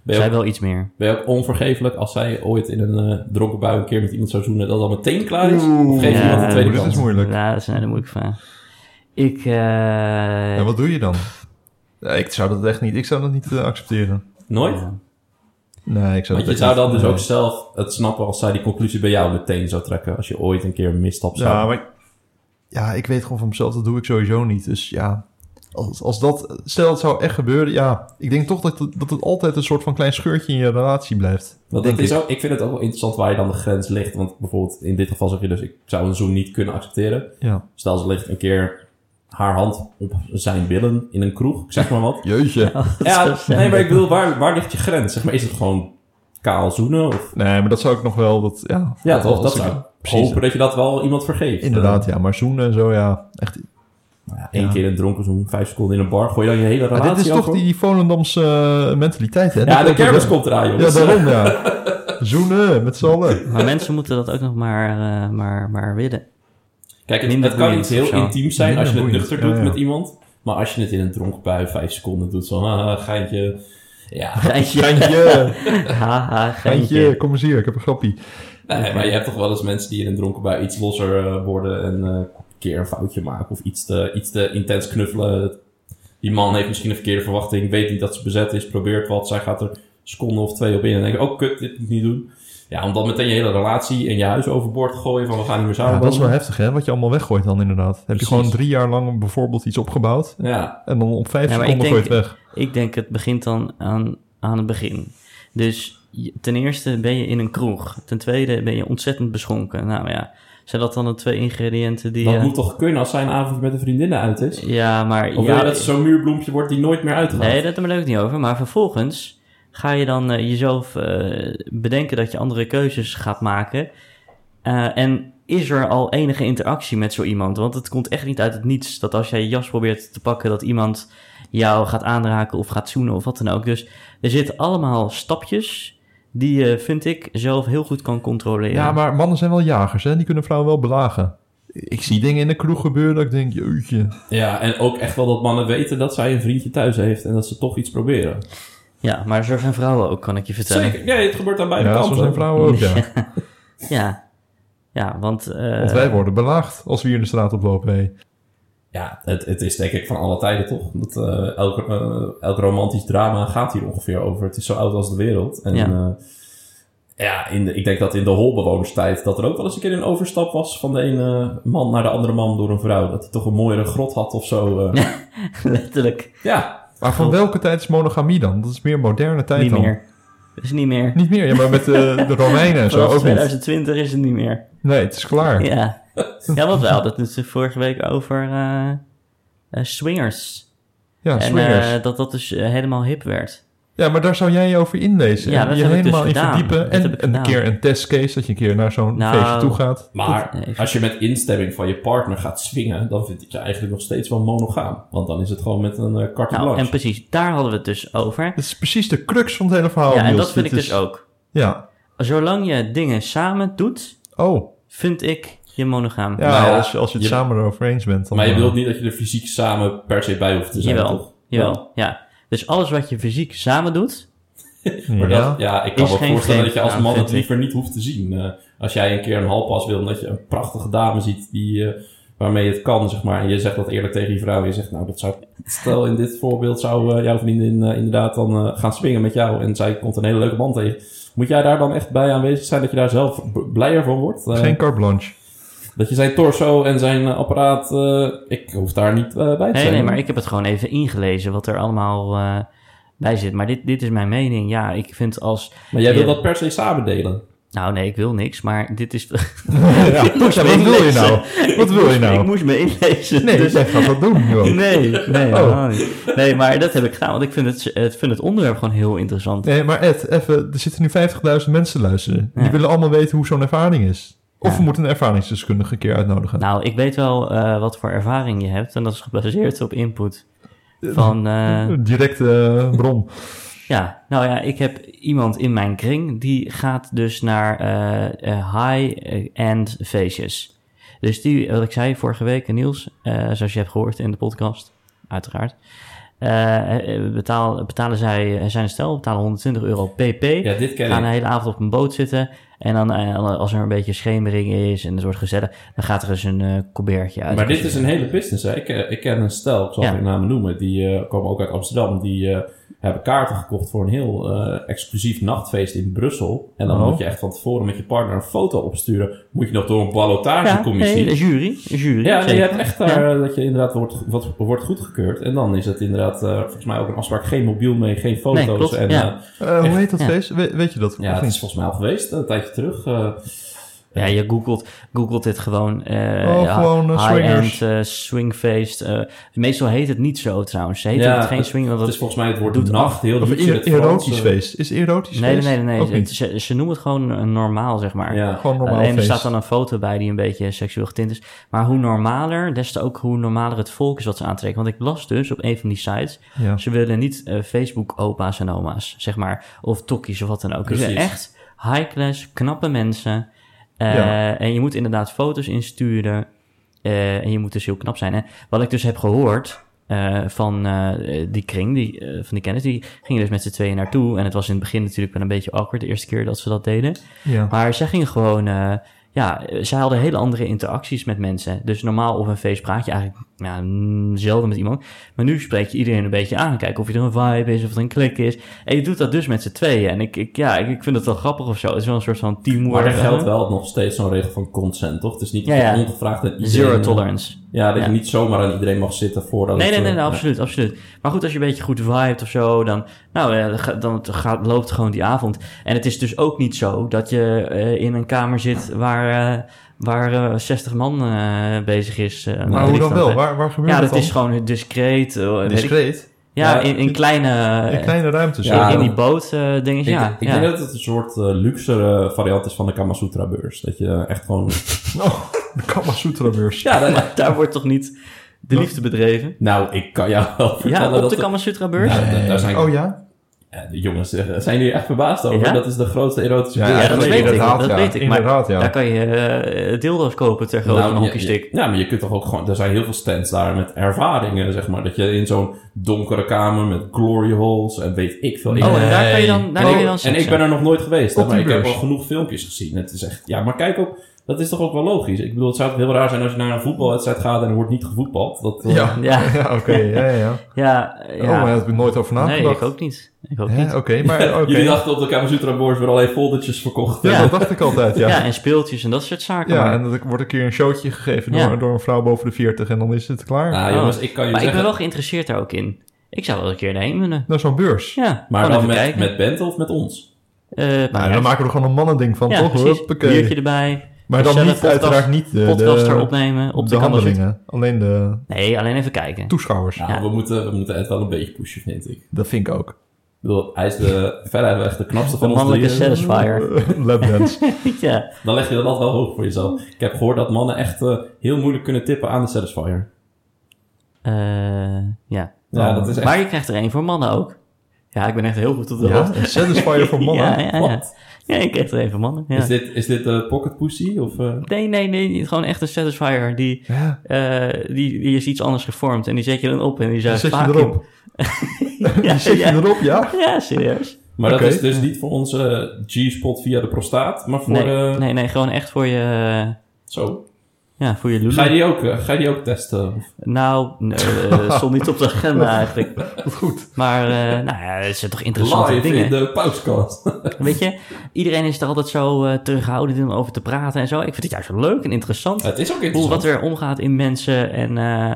C: Ben je,
A: zij
C: ook,
A: wel iets meer.
C: ben je ook onvergeeflijk als zij ooit in een eh, dronken bui een keer met iemand zou zoenen... dat dan meteen klaar is? Of geef je
A: Oeh,
C: iemand een tweede
B: dit is
C: kans?
B: moeilijk.
A: Ja, dat is een hele moeilijke vraag. Ik. eh,
B: En wat doe je dan? Ja, ik zou dat echt niet... Ik zou dat niet eh, accepteren.
C: Nooit?
A: ja.
B: Nee, ik zou
C: Want
B: dat
C: je zou
B: echt
C: dan
B: niet-
C: dus
B: nee.
C: ook zelf het snappen als zij die conclusie bij jou meteen zou trekken. Als je ooit een keer een misstap zou
B: Ja, maar... Ja, ik weet gewoon van mezelf, dat doe ik sowieso niet. Dus ja... Als, als dat... Stel, het zou echt gebeuren, ja... Ik denk toch dat, het- dat het altijd een soort van klein scheurtje in je relatie blijft.
C: Want
B: denk
C: het is
B: ik.
C: ook, ik vind het ook wel interessant waar je dan de grens ligt. Want bijvoorbeeld in dit geval zeg je dus, ik zou een zoen niet kunnen accepteren.
B: Ja.
C: Stel ze ligt een keer haar hand op zijn billen in een kroeg, ik zeg maar wat.
B: Jeetje.
C: ja, nee, maar ik bedoel, waar, waar ligt je grens? Zeg maar, is het gewoon kaal zoenen? Of,
B: Nee, maar dat zou ik nog wel... Dat, ja,
C: ja, toch?
B: als
C: Dat
B: ik-
C: zou ik
B: precies.
C: hopen dat je dat wel iemand vergeeft.
B: Inderdaad, ja. Maar zoenen en zo, ja. Echt,
C: Eén keer een dronken zoen, vijf seconden in een bar, gooi je dan je hele relatie
B: maar dit is toch
C: over?
B: die Volendamse eh, mentaliteit, hè?
C: Ja,
B: Dat
C: de
B: ook-
C: kermis komt eraan,
B: Ja,
C: jongens.
B: daarom, ja. Zoenen, met z'n allen.
A: Maar mensen moeten dat ook nog maar, eh, maar, maar willen.
C: Kijk, het,
A: Minder
C: het kan
A: boeiend
C: iets heel
A: of zo.
C: intiem zijn als je het
B: Minder boeiend,
C: nuchter
B: ja,
C: doet
B: ja.
C: met iemand. Maar als je het in een dronken bui vijf seconden doet, zo, ah, geintje. Ja,
A: Geintje.
B: Geintje,
A: Haha,
B: geintje,
A: geintje.
B: kom eens hier, ik heb een grappie.
C: nee, maar je hebt toch wel eens mensen die in een dronken bui iets losser eh, worden en eh, een keer een foutje maken of iets te, iets te intens knuffelen. Die man heeft misschien een verkeerde verwachting, weet niet dat ze bezet is, probeert wat. Zij gaat er een seconde of twee op in en denkt, oh kut, dit moet ik niet doen. Ja, om dan meteen je hele relatie en je huis overboord te gooien van we gaan niet meer samen.
B: Ja, dat is wel
C: wonen.
B: heftig, hè? Wat je allemaal weggooit dan inderdaad. Heb je
C: Precies.
B: gewoon drie jaar lang bijvoorbeeld iets opgebouwd...
C: ja,
B: en dan op vijf
A: Ja, maar ik
B: seconden gooi je
A: denk-
B: het weg.
A: Ik denk het begint dan aan, aan het begin. Dus je- ten eerste ben je in een kroeg. Ten tweede ben je ontzettend beschonken. Nou ja, zijn dat dan de twee ingrediënten die...
C: dat
A: eh,
C: moet toch kunnen als zij een avond met een vriendin uit is?
A: Ja, maar...
C: Of wil
A: ja,
C: je dat het zo'n muurbloempje wordt die nooit meer uitgaat?
A: Nee, dat daar ben ik niet over. Maar vervolgens ga je dan eh, jezelf eh, bedenken dat je andere keuzes gaat maken. Eh, en is er al enige interactie met zo iemand? Want het komt echt niet uit het niets dat als jij je jas probeert te pakken, dat iemand jou gaat aanraken of gaat zoenen of wat dan ook. Dus er zitten allemaal stapjes die je, vind ik, zelf heel goed kan controleren.
B: Ja, maar mannen zijn wel jagers, hè? Die kunnen vrouwen wel belagen. Ik zie dingen in de kroeg gebeuren dat ik denk, jeetje.
C: Ja, en ook echt wel dat mannen weten dat zij een vriendje thuis heeft en dat ze toch iets proberen.
A: ja, maar zo zijn vrouwen ook, kan ik je vertellen.
C: Zeker, ja, het gebeurt aan beide
B: Ja, zo
C: kanten.
B: zijn vrouwen ook, ja.
A: Ja, eh, ja want... eh,
C: Eh.
B: Want wij worden belaagd als we hier in de straat oplopen, hé.
C: Ja, het, het is denk ik van alle tijden toch. Dat, eh, elk, eh, elk romantisch drama gaat hier ongeveer over. Het is zo oud als de wereld. En
A: Ja.
C: ja, ja in de, ik denk dat in de holbewonerstijd dat er ook wel eens een keer een overstap was van de ene man naar de andere man door een vrouw. Dat hij toch een mooiere grot had of zo. eh.
A: Letterlijk.
C: ja,
B: Maar van welke tijd is monogamie dan? Dat is meer moderne tijd
A: Niet
B: dan.
A: meer. Dat is niet meer.
B: Niet meer, ja, maar met eh, de Romeinen en zo
A: Vanaf
B: ook niet.
A: 2020 is het niet meer.
B: Nee, het is klaar.
A: Ja. Ja, wat wel. Dat is vorige week over eh, eh, swingers.
B: Ja,
A: en
B: swingers.
A: eh, dat dat dus eh, helemaal hip werd.
B: ja, maar daar zou jij je over inlezen.
A: Ja,
B: en
A: dat
B: je
A: heb ik dus
B: helemaal in
A: gedaan.
B: verdiepen.
A: Dat
B: en
A: heb ik
B: en een
A: gedaan.
B: keer een testcase, dat je een keer naar zo'n
A: Nou.
B: feestje toe gaat.
A: Dat-
C: maar
A: nee.
C: als je met instemming van je partner gaat swingen, dan vind ik je eigenlijk nog steeds wel monogaam. Want dan is het gewoon met een eh, carte
A: Nou,
C: blanche.
A: en precies. Daar hadden we het dus over.
B: Dat is precies de crux van het hele verhaal.
A: ja, en
B: Oh, Niels.
A: dat vind ik
B: Dit
A: dus
B: is-
A: ook.
B: Ja.
A: Zolang je dingen samen doet,
B: Oh,
A: vind ik je monogaam.
B: ja,
C: Nou ja,
B: als, je- als je het
C: je-
B: samen erover eens bent. Dan,
C: Maar je
B: eh,
C: wilt niet dat je er fysiek samen per se bij hoeft te zijn, toch?
A: jawel, jawel, ja. Dus alles wat je fysiek samen doet,
C: Maar
B: ja.
C: dat, ja, ik kan
A: Is
C: me
A: geen
C: voorstellen dat je als
A: vreemdgaan,
C: man het
A: vind ik.
C: liever niet hoeft te zien. Eh, als jij een keer een halpas wil, dat je een prachtige dame ziet die, eh, waarmee je het kan, zeg maar. En je zegt dat eerlijk tegen je vrouw. En je zegt, nou, dat zou, stel in dit voorbeeld zou eh, jouw vriendin eh, inderdaad dan eh, gaan swingen met jou. En zij komt een hele leuke man tegen. Moet jij daar dan echt bij aanwezig zijn dat je daar zelf b- blijer van wordt? Eh,
B: Geen carte blanche.
C: Dat je zijn torso en zijn eh, apparaat, eh, ik hoef daar niet eh, bij te
A: Nee,
C: zijn.
A: nee, maar ik heb het gewoon even ingelezen wat er allemaal eh, bij zit. Maar dit, dit is mijn mening. Ja, ik vind als.
C: Maar jij wil
A: Ja.
C: dat per se samen delen.
A: Nou, nee, ik wil niks, maar dit is.
B: ja, wat
A: me
B: wil je
A: inlezen.
B: nou? Wat wil je
A: Ik
B: nou?
A: moest me inlezen.
B: Nee,
A: dus-
B: jij gaat dat doen, joh.
A: Nee, nee,
B: Oh.
A: helemaal niet. nee, maar dat heb ik gedaan, want ik vind het, eh, vind het onderwerp gewoon heel interessant.
B: Nee, maar Ed, even, er zitten nu 50.000 mensen luisteren. Die
A: Ja.
B: willen allemaal weten hoe zo'n ervaring is. Of
A: Ja.
B: we moeten een ervaringsdeskundige een keer uitnodigen.
A: Nou, ik weet wel eh, wat voor ervaring je hebt, en dat is gebaseerd op input. Van, eh,
B: Een Directe eh, bron.
A: Ja, nou ja, ik heb iemand in mijn kring die gaat dus naar eh, eh, high-end feestjes. Dus die, wat ik zei vorige week, Niels, eh, zoals je hebt gehoord in de podcast, uiteraard. eh, eh, betaal, betalen zij, eh, zijn stel, betalen 120 euro pp.
C: Ja, dit ken
A: gaan
C: ik.
A: de hele avond op een boot zitten. En dan, eh, als er een beetje schemering is en het wordt gezellig, dan gaat er eens een eh colbertje uit.
C: Maar dit is een hele business. Hè? Ik, eh, ik ken een stel, ik zal
A: Ja.
C: geen namen noemen, die eh, komen ook uit Amsterdam. Die eh, hebben kaarten gekocht voor een heel eh, exclusief nachtfeest in Brussel. En dan
B: Oh.
C: moet je echt van tevoren met je partner een foto opsturen. Moet je nog door een
A: ja, nee,
C: ballotagecommissie.
A: de
C: Ja,
A: jury. de jury
C: nee, je
A: zeker.
C: hebt echt daar eh, dat je inderdaad wordt, wat, wordt goedgekeurd. En dan is het inderdaad eh, volgens mij ook een afspraak. Geen mobiel mee, geen foto's.
A: Nee, klopt,
C: en,
A: ja.
C: eh,
B: Eh, hoe
C: Echt?
B: heet dat
A: Ja.
B: feest? We- weet je dat?
C: ja,
B: of
C: het
B: niet?
C: is volgens mij al geweest, eh, een tijdje terug. eh.
A: Ja, je googelt, googelt dit gewoon. eh,
B: Oh,
A: ja,
B: gewoon, eh, swingers.
A: High-end eh, swingfeest. eh, meestal heet het niet zo trouwens. Ze heet
C: Ja,
A: het geen swing, want
C: het
A: dat
C: is volgens mij het woord
A: doet
C: nacht. Heel
B: Of
C: liedje in
B: een
C: het
B: erotisch
C: Frans, eh.
B: feest. Is het erotisch
A: Nee,
B: feest?
A: nee, nee.
B: Ook
A: nee.
B: niet.
A: Ze, ze noemen het gewoon eh, normaal, zeg maar.
C: Ja.
B: Gewoon normaal
A: Alleen er
B: feest.
A: staat dan een foto bij die een beetje seksueel getint is. Maar hoe normaler, des te ook hoe normaler het volk is wat ze aantrekken. Want ik las dus op een van die sites,
B: Ja.
A: ze willen niet eh, Facebook-opa's en oma's, zeg maar. Of tokkies of wat dan ook. Dus
C: Precies.
A: echt high-class, knappe mensen. Eh,
B: Ja.
A: En je moet inderdaad foto's insturen. Eh, en je moet dus heel knap zijn. En wat ik dus heb gehoord eh, van eh, die kring, die, eh, van die kennis, die gingen dus met z'n tweeën naartoe. En het was in het begin natuurlijk wel een beetje awkward de eerste keer dat ze dat deden.
B: Ja.
A: Maar zij gingen gewoon, eh, ja, eh, zij hadden hele andere interacties met mensen. Dus normaal op een feest praat je eigenlijk ja, mm, zelden met iemand. Maar nu spreek je iedereen een beetje aan. Kijk of je er een vibe is, of er een klik is. En je doet dat dus met z'n tweeën. En ik, ik, ja, ik, ik vind het wel grappig of zo. Het is wel een soort van teamwork.
C: Maar er geldt wel nog steeds zo'n regel van consent, toch? Het is niet
A: Ja,
C: dat je
A: ja.
C: ongevraagd aan iedereen...
A: Zero tolerance.
C: Ja, dat je
A: Ja.
C: niet zomaar aan iedereen mag zitten voordat...
A: Nee,
C: het,
A: nee, nee,
C: eh,
A: nee,
C: ja.
A: absoluut, absoluut. Maar goed, als je een beetje goed vibet of zo, dan, nou, eh, dan ga- dan gaat, loopt gewoon die avond. En het is dus ook niet zo dat je eh, in een kamer zit waar, eh, waar eh, 60 man eh, bezig is. eh, met
B: Maar hoe dan
A: liefde.
B: wel? Waar, waar gebeurt
A: Ja,
B: dat
A: dat
B: dan?
A: is gewoon discreet. eh, weet ik-
B: Discreet.
A: Ja,
C: Ja,
A: in, in
B: in-
A: kleine, eh,
B: In kleine ruimtes. Oh,
A: in-
C: Ja,
A: in
B: hoor.
A: die boot eh
C: Ik,
A: dinges. Ja,
C: ik
A: ja.
C: denk dat het een soort eh, luxere variant is van de Kama Sutra beurs. Dat je eh, echt gewoon...
B: Oh, de Kama Sutra beurs.
C: ja, dat-
A: Maar daar wordt toch niet de liefde bedreven?
C: nou, ik kan jou wel vertellen
A: Ja, op de
C: dat... het-
A: Kama Sutra beurs?
C: Nou, daar- daar zijn...
B: Oh ja?
C: Ja, de jongens, eh, zijn jullie echt verbaasd over?
A: Ja?
C: Dat is de grootste erotische
B: Ja,
C: beurs.
A: Ja, dat
B: eigenlijk
A: weet ik.
B: inderdaad,
A: Dat
B: ja.
A: weet ik. Maar
B: Inderdaad, ja.
A: daar kan je eh, dildo's kopen ter grootte van een
C: Nou, je-
A: hockeystick.
C: je- ja, maar je kunt toch ook gewoon... Er zijn heel veel stands daar met ervaringen, zeg maar. Dat je in zo'n donkere kamer met glory holes en weet ik veel. Ik-
A: Oh, en daar kan je dan, daar
C: En
B: Oh,
A: kan je
C: ik-
A: dan
C: en
A: seksen.
C: ik ben er nog nooit geweest, hè,
B: Op die
C: maar ik heb
B: beurs.
C: al genoeg filmpjes gezien. Het is echt, ja, maar kijk ook, Dat is toch ook wel logisch? Ik bedoel, het zou toch heel raar zijn als je naar een voetbalwedstrijd gaat en er wordt niet gevoetbald. Dat, eh,
B: Ja,
A: Ja.
B: ja. oké. ja, ja.
A: Ja, eh, ja.
B: Oh, maar daar heb ik nooit over
A: nee,
B: nagedacht.
A: ik ook niet. Ik ook
B: Hè, Oh,
A: niet.
B: Oké, maar oké.
C: Jullie dachten op de Kamasutra Boards werden alleen foldertjes verkocht.
B: Ja,
A: Ja.
B: dat dacht ik altijd,
A: Ja.
B: ja. ja.
A: en speeltjes en dat soort zaken. maar-
B: en dat wordt een keer een showtje gegeven
A: Ja.
B: door, door een vrouw boven de 40 en dan is het klaar.
C: Nou jongens, ik kan
A: maar
C: je
A: ik ben
C: zeggen...
A: wel geïnteresseerd daar ook in. Ik zou wel een keer naar heen willen.
B: Naar zo'n beurs.
A: Ja,
C: Maar
A: gewoon
C: dan
A: even
C: met,
A: kijken.
C: met Bent of met ons?
A: Eh, maar
B: Nou, dan maken we er gewoon een mannending van,
A: ja,
B: toch?
A: precies.
B: Hoppakee.
A: Biertje erbij.
B: Maar dan
A: Gezellig
B: niet, uiteraard niet eh, de,
A: podcast er
B: de,
A: opnemen op de,
B: de
A: kamer.
B: handelingen. Alleen de
A: Nee, alleen even kijken.
B: toeschouwers.
C: Nou,
A: Ja.
C: we, moeten, we moeten Ed wel een beetje pushen, vind ik.
B: Dat vind ik ook.
C: Ik bedoel, hij is de, veruit wel echt de knapste
A: De
C: van ons
A: mannelijke
C: drieën.
A: satisfier.
B: Lapdance.
A: ja.
C: Dan leg je dat altijd wel hoog voor jezelf. Ik heb gehoord dat mannen echt eh, heel moeilijk kunnen tippen aan de Satisfier.
A: Eh, ja.
C: Ja, dat is echt...
A: Maar je krijgt er één voor mannen ook. Ja, ik ben echt heel goed op de
B: Ja,
A: hoogte.
B: een satisfier voor mannen.
A: Ja, ja, ja.
C: Wat?
A: ja, je krijgt er één voor mannen. Ja.
C: Is dit, is dit eh, Pocket Pussy? Of, eh?
A: Nee, nee, nee. niet. Gewoon echt een satisfier. Die,
B: Ja.
A: eh, die, die is iets anders gevormd. En die zet je dan op en die
B: Die
A: zuigt
B: zet je
A: vaak in.
B: erop.
A: Ja,
B: Die zet je
A: ja.
B: erop, ja?
A: ja, serieus.
C: Maar
B: Oké.
C: dat is dus niet voor onze eh, G-spot via de prostaat, maar voor...
A: Nee,
C: eh,
A: nee, nee, gewoon echt voor je, eh,
C: Zo.
A: ja, voor je lulu.
C: Ga je die ook, eh, ga je die ook testen? Of-
A: Nou, nee, eh, stond niet op de agenda eigenlijk.
B: Goed.
A: Maar, eh, nou ja, het zijn toch interessante
C: Live
A: dingen.
C: in de pauskast.
A: Weet je, iedereen is er altijd zo eh, terughoudend in om over te praten en zo. Ik vind het juist wel leuk en interessant.
C: het is ook
A: Hoe
C: interessant.
A: wat er omgaat in mensen en, eh,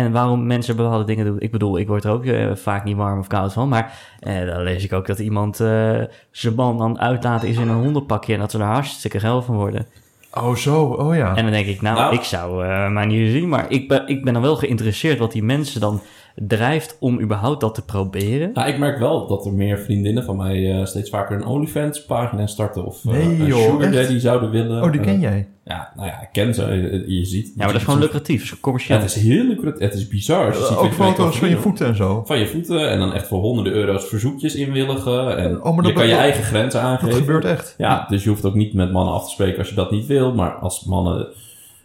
A: en waarom mensen bepaalde dingen doen. Ik bedoel, ik word er ook eh, vaak niet warm of koud van. Maar eh, dan lees ik ook dat iemand eh, zijn man dan uitlaten is in een hondenpakje. En dat ze daar hartstikke geil van worden.
B: Oh, zo. Oh ja.
A: En dan denk ik, nou,
C: Nou.
A: ik zou eh mij niet zien. Maar ik ben, ik ben dan wel geïnteresseerd wat die mensen dan drijft om überhaupt dat te proberen.
C: Nou, ik merk wel dat er meer vriendinnen van mij eh, steeds vaker een OnlyFans pagina starten. Of eh,
B: Nee,
C: een
B: joh,
C: Sugar
B: echt?
C: Daddy zouden willen.
B: Oh, die
C: Eh,
B: ken jij.
C: ja, nou ja, ik ken ze. Je, je ziet.
A: Ja, maar dat is gewoon lucratief, dat is
C: Ja,
A: commercieel.
C: het is heel lucratief. Het is bizar. als je ziet
B: Eh, Ook
C: wat je
B: foto's van je
C: kan
B: voeten en zo.
C: doen. Van je voeten en dan echt voor honderden euro's verzoekjes inwilligen. En
B: Oh, maar
C: je
B: dat-
C: kan je
B: dat-
C: eigen grenzen
B: Dat
C: aangeven.
B: gebeurt echt.
C: Ja, dus je hoeft ook niet met mannen af te spreken als je dat niet wil. Maar als mannen.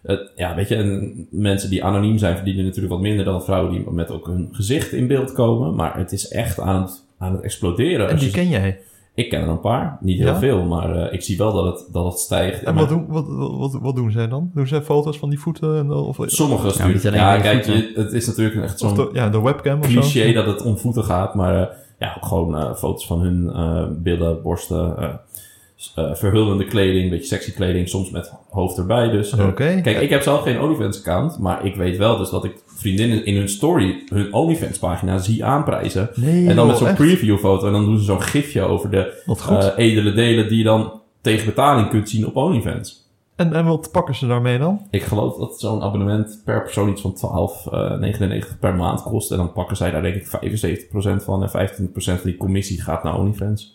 C: het- ja, weet je, en mensen die anoniem zijn verdienen natuurlijk wat minder dan vrouwen die met ook hun gezicht in beeld komen. Maar het is echt aan het, aan het exploderen.
B: En
C: Als
B: die
C: je,
B: ken jij.
C: ik ken er een paar, niet heel
B: Ja?
C: veel, maar eh, ik zie wel dat het, dat het stijgt.
B: En
C: Maar
B: wat doen, wat, wat, wat- wat doen zij dan? Doen zij foto's van die voeten? En, of, of
C: Sommigen sturen.
A: niet
C: Ja,
A: alleen maar je
C: kijk,
A: voeten.
C: je, het is natuurlijk echt zo'n
B: de, ja, de webcam of zo?
C: cliché dat het om voeten gaat, maar eh, ja, ook gewoon eh, foto's van hun eh, billen, borsten, eh, s- eh, verhullende kleding, een beetje sexy kleding, soms met hoofd erbij dus. Eh,
B: Oké.
C: Kijk, ik heb zelf geen OnlyFans-account, maar ik weet wel dus dat ik vriendinnen in hun story hun OnlyFans-pagina zie aanprijzen.
B: Nee,
C: en dan met
B: joh,
C: zo'n
B: echt?
C: preview-foto en dan doen ze zo'n gifje over de
B: Wat goed.
C: eh, edele delen die je dan tegen betaling kunt zien op OnlyFans.
B: En, en wat pakken ze daarmee dan?
C: Ik geloof dat zo'n abonnement per persoon iets van 12,99 per maand kost. En dan pakken zij daar denk ik 75% van en 15% van die commissie gaat naar OnlyFans.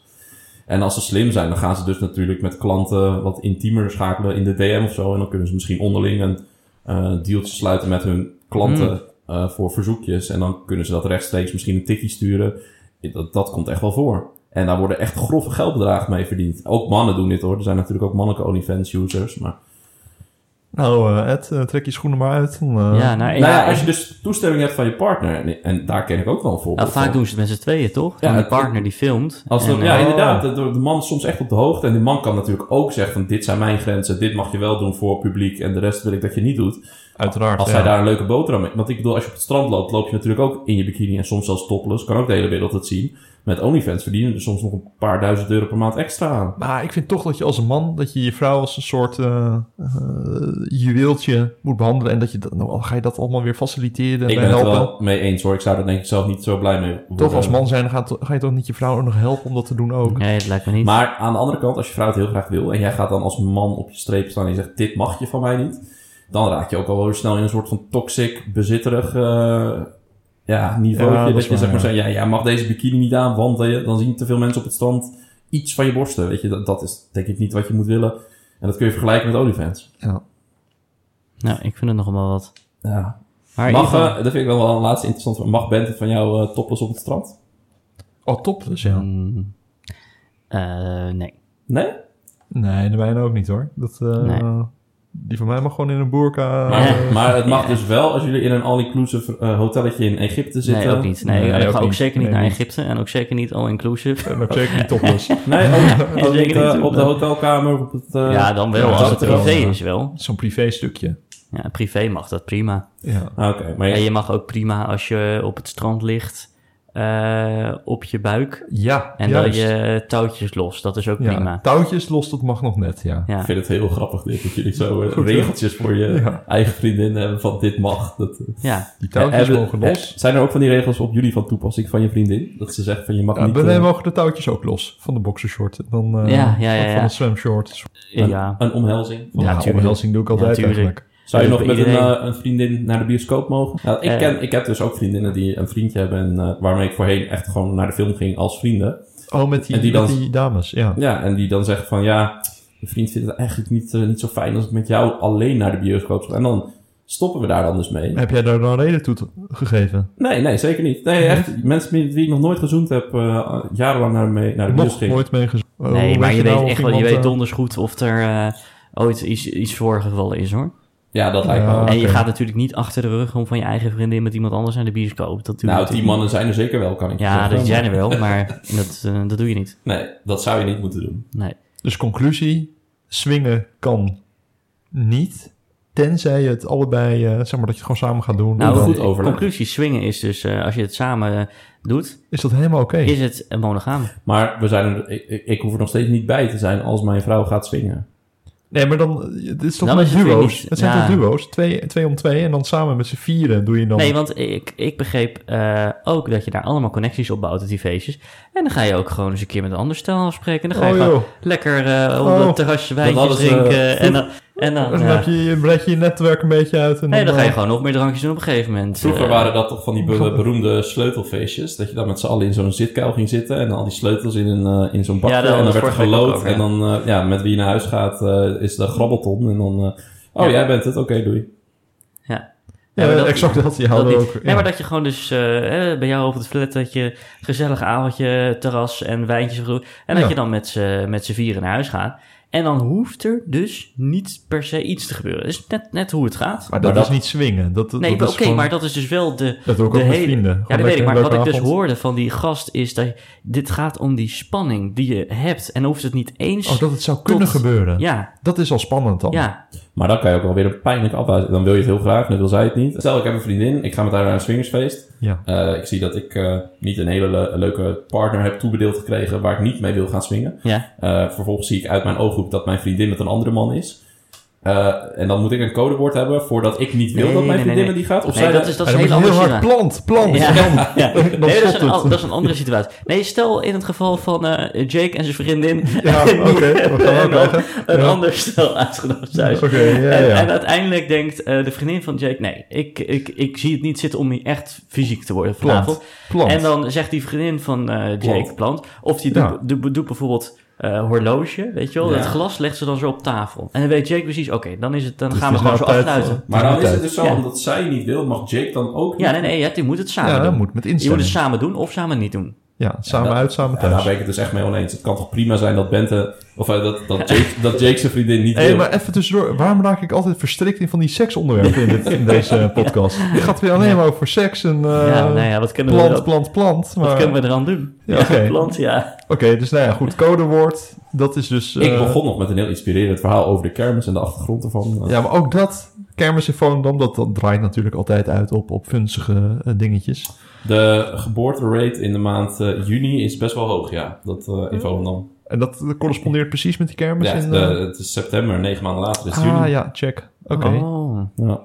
C: En als ze slim zijn, dan gaan ze dus natuurlijk met klanten wat intiemer schakelen in de DM of zo. En dan kunnen ze misschien onderling een eh dealtje sluiten met hun klanten eh, voor verzoekjes. En dan kunnen ze dat rechtstreeks misschien een tikkie sturen. Dat, dat komt echt wel voor. En daar worden echt grove geldbedragen mee verdiend. Ook mannen doen dit hoor. Er zijn natuurlijk ook mannelijke OnlyFans-users. Maar
B: Nou, eh, Ed, eh, trek je schoenen maar uit. Dan, eh,
A: ja, nou,
C: nou
A: ja,
C: ja, als je dus toestemming hebt van je partner, en, en daar ken ik ook wel een voorbeeld
A: Nou, vaak
C: van.
A: doen ze het met z'n tweeën, toch?
C: Ja,
A: Ja, de
C: het-
A: partner die filmt.
C: Als
A: En,
C: de-
A: eh,
C: ja, inderdaad. De, de man is soms echt op de hoogte. En die man kan natuurlijk ook zeggen van dit zijn mijn grenzen. Dit mag je wel doen voor publiek. En de rest wil ik dat je niet doet.
B: Uiteraard.
C: Als
B: ja.
C: zij daar een leuke boterham mee... Want ik bedoel, als je op het strand loopt, loop je natuurlijk ook in je bikini. En soms zelfs topless. Kan ook de hele wereld het zien. Met OnlyFans verdienen er soms nog een paar duizend euro per maand extra aan.
B: Maar ik vind toch dat je als een man, dat je je vrouw als een soort eh, eh, juweeltje moet behandelen. En dat je dat, nou, al ga je dat allemaal weer faciliteren en
C: Ik
B: bij
C: ben het er
B: helpen.
C: wel mee eens hoor. Ik zou er denk ik zelf niet zo blij mee worden.
B: Toch als man zijn, dan ga, ga je toch niet je vrouw ook nog helpen om dat te doen ook.
A: Nee, dat lijkt me niet.
C: Maar aan de andere kant, als je vrouw het heel graag wil en jij gaat dan als man op je streep staan en je zegt: Dit mag je van mij niet, dan raak je ook al wel weer snel in een soort van toxic, bezitterig eh, ja, niveau.
B: Ja, dat
C: dat,
B: is
C: je
B: waar,
C: zeg maar
B: ja.
C: zo, ja, jij mag deze bikini niet aan, want eh, dan zien te veel mensen op het strand iets van je borsten. Weet je, dat, dat is denk ik niet wat je moet willen. En dat kun je vergelijken met OnlyFans.
A: Nou, ik vind het nog wel wat.
C: Ja.
A: Maar
C: Mag,
A: in ieder
C: eh, dat vind ik wel een laatste interessant. Mag Bente van jou eh topless op het strand?
B: Oh, top dus,
A: geval-
B: ja.
A: Mm, eh, nee.
C: Nee?
B: Nee, de mijne ook niet hoor. Dat, eh,
A: Nee.
B: Die van mij mag gewoon in een burka.
C: Maar,
A: Ja.
C: maar het mag
A: Ja.
C: dus wel als jullie in een all-inclusive eh, hotelletje in Egypte zitten.
A: Nee, ook niet. Nee,
B: Nee,
A: ik
B: ook
A: ga ook
B: niet.
A: zeker niet
B: Nee,
A: naar
B: niet.
A: Egypte en ook zeker niet all-inclusive.
B: En ook zeker niet topless.
C: Nee, ook, ook
A: Zeker
C: niet
A: niet,
C: eh, op de
A: nee.
C: hotelkamer. Op het, eh,
A: ja, dan wel.
B: ja,
A: als het
B: dat
A: privé
C: wel.
A: is wel.
B: Zo'n privé stukje.
A: Ja, privé mag dat prima.
B: Ja.
C: ah, Oké, maar
A: En
C: je,
A: je mag ook prima als je op het strand ligt eh, op je buik.
B: Ja,
A: En
B: juist.
A: dan je touwtjes los. Dat is ook
B: ja,
A: prima.
B: Touwtjes los, dat mag nog net, ja.
A: Ja.
C: ik vind het heel grappig dit, dat jullie zo eh,
B: Goed, hè?
C: regeltjes voor je
B: Ja.
C: eigen vriendin hebben van dit mag. Dat, eh,
A: ja.
B: Die touwtjes
C: hebben-
B: mogen los.
C: eh, Zijn er ook van die regels op jullie van toepassing van je vriendin? Dat ze zegt van je mag
B: Ja,
C: niet...
B: bij
C: eh,
B: mij mogen de touwtjes ook los van de boxershort. En Dan, eh,
A: Ja, ja, ja,
B: Van
A: ja.
B: de swimshort.
C: een,
A: ja.
C: een omhelzing. van-
A: Ja,
B: Ja,
A: tuurlijk.
B: omhelzing doe ik altijd
A: tuurlijk.
B: eigenlijk.
C: Zou je
A: Ja,
C: nog
A: dat
C: met een,
A: iedereen-
C: eh, een vriendin naar de bioscoop mogen? Nou, ik,
A: Eh.
C: ken, ik heb dus ook vriendinnen die een vriendje hebben en eh, waarmee ik voorheen echt gewoon naar de film ging als vrienden.
B: Oh, met die,
C: En die
B: met
C: dan-
B: die dames, ja.
C: Ja, en die dan zeggen van ja, mijn vriend vindt het eigenlijk niet, eh, niet zo fijn als ik met jou alleen naar de bioscoop ga. En dan stoppen we daar dan dus mee.
B: Heb jij daar dan reden toe te- gegeven?
C: Nee, nee, zeker niet. Nee, echt, mensen met wie ik nog nooit gezoend heb, eh, jarenlang naar, mee, naar de bios
B: Nog
C: ging.
B: nooit mee gez- Oh,
A: Nee, maar
B: weet
A: je
B: nou
A: weet
B: of
A: echt wel, je
B: iemand,
A: weet
B: eh,
A: donders goed of er eh, ooit iets, iets voorgevallen is hoor.
C: Ja, dat lijkt me
B: Ja.
C: wel.
B: Ah, Oké.
A: En je gaat natuurlijk niet achter de rug om van je eigen vriendin met iemand anders naar de bioscoop. Dat doe je
C: Nou, die
A: natuurlijk
C: mannen zijn er zeker wel, kan ik
A: niet.
C: je
A: Ja,
C: zeggen.
A: dat zijn er wel, maar dat, eh, dat doe je niet.
C: Nee, dat zou je niet moeten doen.
A: Nee.
B: Dus conclusie, swingen kan niet, tenzij je het allebei, eh, zeg maar, dat je het gewoon samen gaat doen.
A: Nou,
B: En dan
C: goed
A: de
C: overleg.
A: conclusie swingen is dus, eh, als je het samen eh, doet,
B: Is dat helemaal oké?
A: is het een monogaam.
C: Maar we zijn er, ik, ik- ik hoef er nog steeds niet bij te zijn als mijn vrouw gaat swingen.
B: Nee, maar dan, eh, het is toch
A: Dan
B: een
A: is het weer
B: duo's?
A: niet-
B: Het zijn
A: ja.
B: toch duo's? Twee, twee om twee en dan samen met z'n vieren doe je dan...
A: Nee, want ik, ik begreep eh, ook dat je daar allemaal connecties opbouwt op die feestjes. En dan ga je ook gewoon eens een keer met een ander stel afspreken. En dan ga je
B: Oh,
A: gewoon
B: joh.
A: lekker eh, op
B: Oh.
A: het terrasje wijntjes
C: hadden ze,
A: drinken.
C: eh,
A: en dan, en dan,
B: En dan
A: ja.
B: heb je, je breid je je netwerk een beetje uit. En
A: nee, dan ga je
B: eh,
A: gewoon nog meer drankjes doen op een gegeven moment.
C: Vroeger
A: Eh,
C: waren dat toch van die be- beroemde sleutelfeestjes. Dat je dan met z'n allen in zo'n zitkuil ging zitten. En dan al die sleutels in, een, eh, in zo'n bakje.
A: Ja, daar
C: en dan
A: hadden we
C: werd er
A: vorige week
C: geloot.
A: ook over,
C: En dan, eh, ja, met wie je naar huis gaat, eh, is de grabbelton. En dan, eh, oh,
A: Ja.
C: jij bent het. Oké, doei.
A: Ja, maar
B: ja,
A: dat-
B: exact dat. Je
A: Dat
B: hadden
A: niet.
B: ook...
A: Nee,
B: ja.
A: maar dat je gewoon dus eh, eh, bij jou op het flat dat je gezellig avondje, terras en wijntjes en groe- En dat
B: Ja.
A: je dan met z'n met z'n vieren naar huis gaat. En dan hoeft er dus niet per se iets te gebeuren. Dat is net, net hoe het gaat.
B: Maar dat
C: Maar dat-
B: is niet swingen. Dat, dat
A: nee,
B: is
A: oké,
B: gewoon-
A: maar dat is dus wel de,
B: Dat doe ik
A: de
B: ook met
A: hele-
B: vrienden. Gewoon
A: Ja, dat weet ik.
B: lekker
A: Maar
B: een
A: wat ik
B: leuke
A: dus
B: avond.
A: hoorde van die gast is dat je- dit gaat om die spanning die je hebt. En dan hoeft het niet eens...
B: Oh, dat het zou kunnen
A: Tot-
B: gebeuren.
A: Ja,
B: Dat is al spannend dan.
A: ja.
C: Maar dan kan je ook wel weer een pijnlijk afwijzen. Dan wil je het heel graag, net wil zij het niet. Stel, ik heb een vriendin. Ik ga met haar naar een swingersfeest.
B: Ja.
C: Eh, ik zie dat ik eh, niet een hele le- leuke partner heb toebedeeld gekregen... waar ik niet mee wil gaan swingen.
A: ja.
C: Eh, vervolgens zie ik uit mijn ooghoek dat mijn vriendin met een andere man is. Eh, en dan moet ik een codewoord hebben voordat ik niet wil
A: Nee,
C: dat mijn
A: nee,
C: vriendin
A: nee,
C: met die gaat. Of
A: Nee,
C: zij
A: dat is, dat is
B: En
A: een
B: dan moet
A: hele
B: je heel
A: andere
B: hard
A: situatie.
B: plant, plant.
A: Ja.
B: Dan, dan
A: Nee, dat is,
B: stopt
A: een,
B: het.
A: al- dat is een andere situatie. Nee, stel in het geval van eh, Jake en zijn vriendin.
B: Ja,
A: En die
B: oké, we
A: hebben
B: gaan ook
A: een, an-
B: weg, hè?
A: een
B: Ja.
A: ander stel uitgenodigd thuis.
B: Oké, ja,
A: en,
B: ja.
A: en uiteindelijk denkt eh, de vriendin van Jake... Nee, ik, ik, ik zie het niet zitten om hier echt fysiek te worden
B: Plant,
A: vanavond.
B: plant.
A: En dan zegt die vriendin van eh, Jake
C: Plant.
A: Plant... Of die doet,
B: Ja.
A: doet- doet bijvoorbeeld... eh, horloge, weet je wel,
C: Ja.
A: dat glas legt ze dan zo op tafel. En dan weet Jake precies, oké, dan is het, dan
B: Dus
A: gaan we
B: het is
A: gewoon zo
B: nou tijd
A: afsluiten.
B: voor-
C: Maar dan is het
B: tijd.
C: dus zo,
A: Ja.
C: omdat zij niet wil, mag Jake dan ook niet.
A: Ja, nee, nee, ja, je moet het samen
B: Ja,
A: doen.
B: dat moet met
A: je moet het
B: instemming.
A: samen doen of samen niet doen.
B: Ja, samen
C: dat-
B: uit, samen
C: Ja, daar
B: thuis.
C: ben ik het dus echt mee oneens. Het kan toch prima zijn dat Bente, of eh, dat, dat, Jake, dat Jake zijn vriendin niet
B: Hé,
C: wil.
B: maar even tussendoor. Waarom raak ik altijd verstrikt in van die seksonderwerpen in, dit, in deze podcast? Het gaat weer alleen maar over seks en eh,
A: ja, nou ja, wat kunnen we
B: plant,
A: er,
B: plant, plant.
A: wat
B: Maar,
A: kunnen we er aan doen?
B: Ja, oké.
A: plant, ja.
B: Oké, dus nou ja, goed. Codewoord, dat is dus... eh,
C: ik begon nog met een heel inspirerend verhaal over de kermis en de achtergrond ervan.
B: Ja, maar ook dat, kermis in Volendam, dat, dat draait natuurlijk altijd uit op, op funzige eh, dingetjes.
C: De geboorterate in de maand eh, juni is best wel hoog, ja. Dat eh, in Volendam.
B: En dat eh, correspondeert precies met die kermis
C: Ja,
B: in...
C: de-
B: eh,
C: het is september, negen maanden later is het
B: ah,
C: juni.
B: ja, check. Oké.
A: Oh.
C: Ja.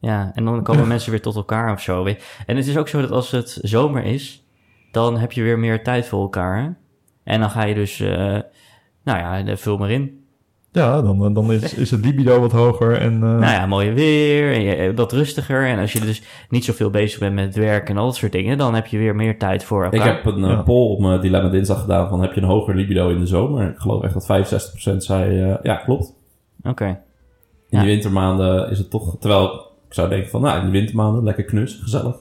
A: Ja, en dan komen mensen weer tot elkaar of zo. En het is ook zo dat als het zomer is, dan heb je weer meer tijd voor elkaar. hè? En dan ga je dus, eh, nou ja, eh, vul maar in.
B: Ja, dan, eh, dan is, is het libido wat hoger en... eh,
A: Nou ja, mooie weer, en je, eh, wat rustiger. En als je dus niet zoveel bezig bent met werk en al dat soort dingen, dan heb je weer meer tijd voor elkaar.
C: Ik heb een eh,
B: Ja.
C: poll op mijn Dilemma Dinsdag gedaan van heb je een hoger libido in de zomer? Ik geloof echt dat 65% zei eh, ja, klopt.
A: Oké.
C: In
A: Ja.
C: de wintermaanden is het toch, terwijl ik zou denken van nou, in de wintermaanden lekker knus, gezellig.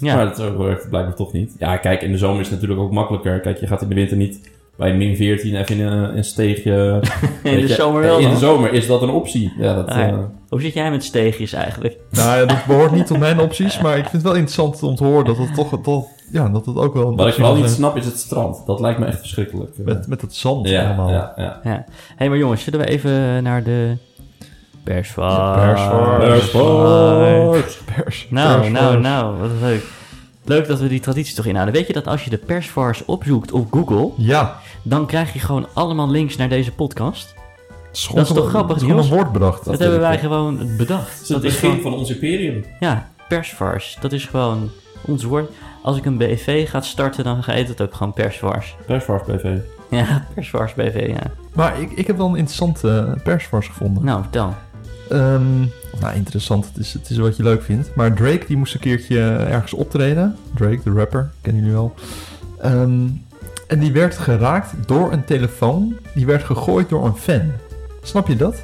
A: Ja.
C: Nou, Maar dat werkt blijkbaar toch niet. Ja, kijk, in de zomer is het natuurlijk ook makkelijker. Kijk, je gaat in de winter niet bij min 14 even in een, een steegje.
A: In de
C: Weet je,
A: zomer wel.
C: In de
A: dan.
C: zomer is dat een optie. Ja, dat,
A: Ah, ja.
C: eh,
A: Hoe zit jij met steegjes eigenlijk?
B: Nou ja, dat behoort niet tot mijn opties, maar ik vind het wel interessant om te horen dat het toch, toch ja, dat het ook wel een
C: wat ik
B: optie
C: wel
B: kan
C: niet
B: zijn.
C: snap is het strand. Dat lijkt me echt verschrikkelijk.
B: Met, met het zand
C: ja,
B: allemaal.
C: ja, ja.
A: Ja. Hé, maar jongens, zullen we even naar de persvar.
B: persvar.
C: Persvar.
B: Pers-
A: Nou,
B: persvars.
A: nou, nou, wat leuk. Leuk dat we die traditie toch inhouden. Weet je dat als je de persvars opzoekt op Google,
B: Ja.
A: dan krijg je gewoon allemaal links naar deze podcast?
B: Schoon-
A: Dat is toch grappig,
B: schoon
A: Niels?
B: een woord bedacht.
A: Dat,
C: Dat
A: hebben
C: weet
A: wij
C: ik
A: gewoon
C: Het
A: bedacht.
C: is het
A: Dat is
C: begin
A: gewoon,
C: van ons imperium.
A: ja, persvars. Dat is gewoon ons woord. Als ik een BV ga starten, dan heet het ook gewoon persvars.
C: Persvar BV.
A: Ja, persvars BV, ja.
B: Maar ik, ik heb wel een interessante persvars gevonden.
A: Nou, vertel.
B: Ehm, of nou, interessant. Het is, het is wat je leuk vindt. Maar Drake, die moest een keertje eh, ergens optreden. Drake, de rapper, kennen jullie wel. Ehm, en die werd geraakt door een telefoon. Die werd gegooid door een fan. Snap je dat?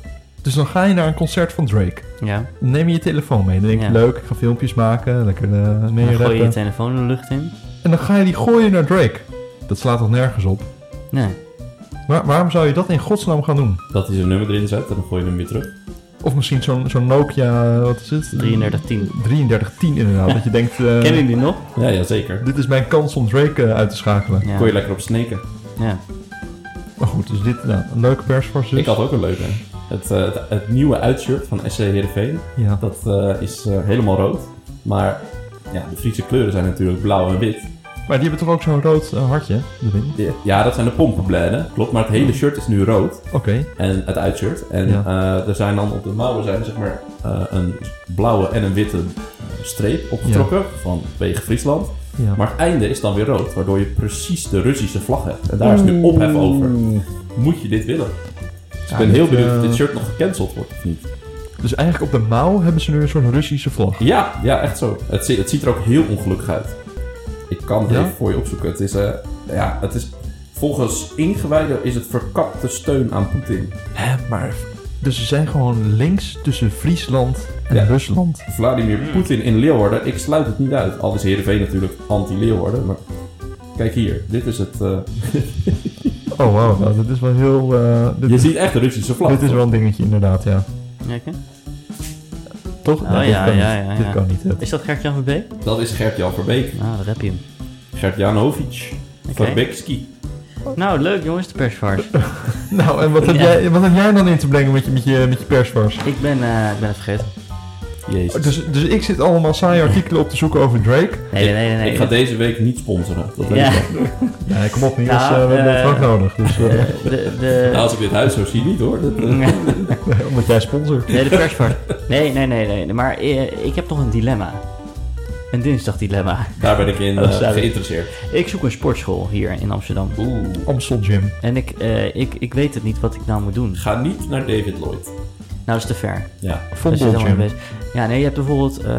B: Dus dan ga je naar een concert van Drake.
A: Ja,
B: Dan neem je je telefoon mee. Dan denk je,
A: Ja.
B: leuk, ik ga filmpjes maken. Lekker eh mee
A: dan gooi je je
B: rappen.
A: telefoon de lucht in.
B: En dan ga je die gooien naar Drake. Dat slaat toch nergens op?
A: Nee.
B: Waar- waarom zou je dat in godsnaam gaan doen?
C: Dat hij zijn nummer erin zet en dan gooi je hem weer terug.
B: Of misschien zo'n zo'n Nokia, wat is het?
A: 3310.
B: 3310 inderdaad. dat je denkt, eh,
A: Kennen jullie die nog?
C: Ja, ja zeker.
B: dit is mijn kans om Drake eh, uit te schakelen.
A: Ja.
C: Kon je lekker op sneken.
A: ja.
B: Maar goed, dus dit nou, een leuke persfors dus.
C: Ik had ook een leuke. Het, eh, het, het nieuwe uitshirt van SC Heerenveen.
B: Ja.
C: Dat eh, is eh, helemaal rood. Maar ja, de Friese kleuren zijn natuurlijk blauw en wit.
B: Maar die hebben toch ook zo'n rood eh, hartje erin?
C: Ja, Ja, dat zijn de pompenbladen. Klopt, maar het hele shirt is nu rood.
B: Oké.
C: En het uitshirt. En
B: Ja.
C: eh, er zijn dan op de mouwen zijn zeg maar eh, een blauwe en een witte eh, streep opgetrokken van wegen Friesland.
B: Ja.
C: Maar het einde is dan weer rood, waardoor je precies de Russische vlag hebt. En daar is nu ophef over. Moet je dit willen? Dus ik ben
B: dit,
C: heel benieuwd
B: eh,
C: of dit shirt nog gecanceld wordt of niet.
B: Dus eigenlijk op de mouw hebben ze nu een soort Russische vlag.
C: Ja, ja echt zo. Het, zi- het ziet er ook heel ongelukkig uit. Ik kan het
B: Ja?
C: even voor je opzoeken. Het is, eh, ja, het is, volgens ingewijden is het verkapte steun aan Poetin.
B: Hè, maar... Dus ze zijn gewoon links tussen Friesland en
C: Ja.
B: Rusland.
C: Vladimir
A: Hmm.
C: Poetin in Leeuwarden. Ik sluit het niet uit. Al is Heerenveen natuurlijk anti-Leeuwarden. Maar kijk hier, dit is het... eh,
B: Oh wow, nou, dit is wel heel... eh, dit,
C: je
B: is-
C: ziet echt de Russische vlag.
B: dit is wel een dingetje inderdaad, ja.
A: Lekker.
B: Toch?
C: Ah,
A: Oh,
B: Nee,
A: ja,
B: dit kan
A: ja,
B: niet.
A: ja,
B: dit
A: ja.
B: kan niet. hè.
A: Is dat Gert-Jan van Beek?
C: Dat is Gert-Jan Verbeek.
A: Nou, daar heb je hem.
C: Gert-Janovic.
A: Oké.
C: Verbekski.
A: Nou, leuk jongens, de persvars.
B: Nou, en wat heb,
A: Ja.
B: jij, wat heb jij dan in te brengen met je, met je, met je persvars?
A: ik, ben, eh, ik ben het vergeten.
C: Jezus.
B: Dus, dus ik zit allemaal saaie artikelen op te zoeken over Drake.
A: Nee, nee, nee. nee, nee.
C: Ik ga deze week niet sponsoren. Dat weet
A: Ja.
C: ik wel.
B: Nee, kom op Niels,
A: Nou,
B: eh, we hebben
A: eh,
B: het ook nodig. Dus, eh,
A: Eh, de, de,
C: Nou, als ik dit huis zo zie, niet hoor. Dat, eh,
B: omdat jij sponsort.
A: nee, de persvars. Nee, nee, nee, nee. Maar eh, ik heb nog een dilemma. Een dinsdagdilemma.
C: daar ben ik in
A: Oh,
C: eh,
A: sorry.
C: geïnteresseerd.
A: Ik zoek een sportschool hier in Amsterdam.
C: Oeh.
B: Amstel Gym.
A: En ik, eh, ik, ik weet het niet wat ik nou moet doen.
C: Ga niet naar David Lloyd.
A: Nou, is te ver.
C: Ja.
A: Daar zit
B: Vondel
A: allemaal
B: Gym.
A: bezig. Ja, nee, je hebt bijvoorbeeld eh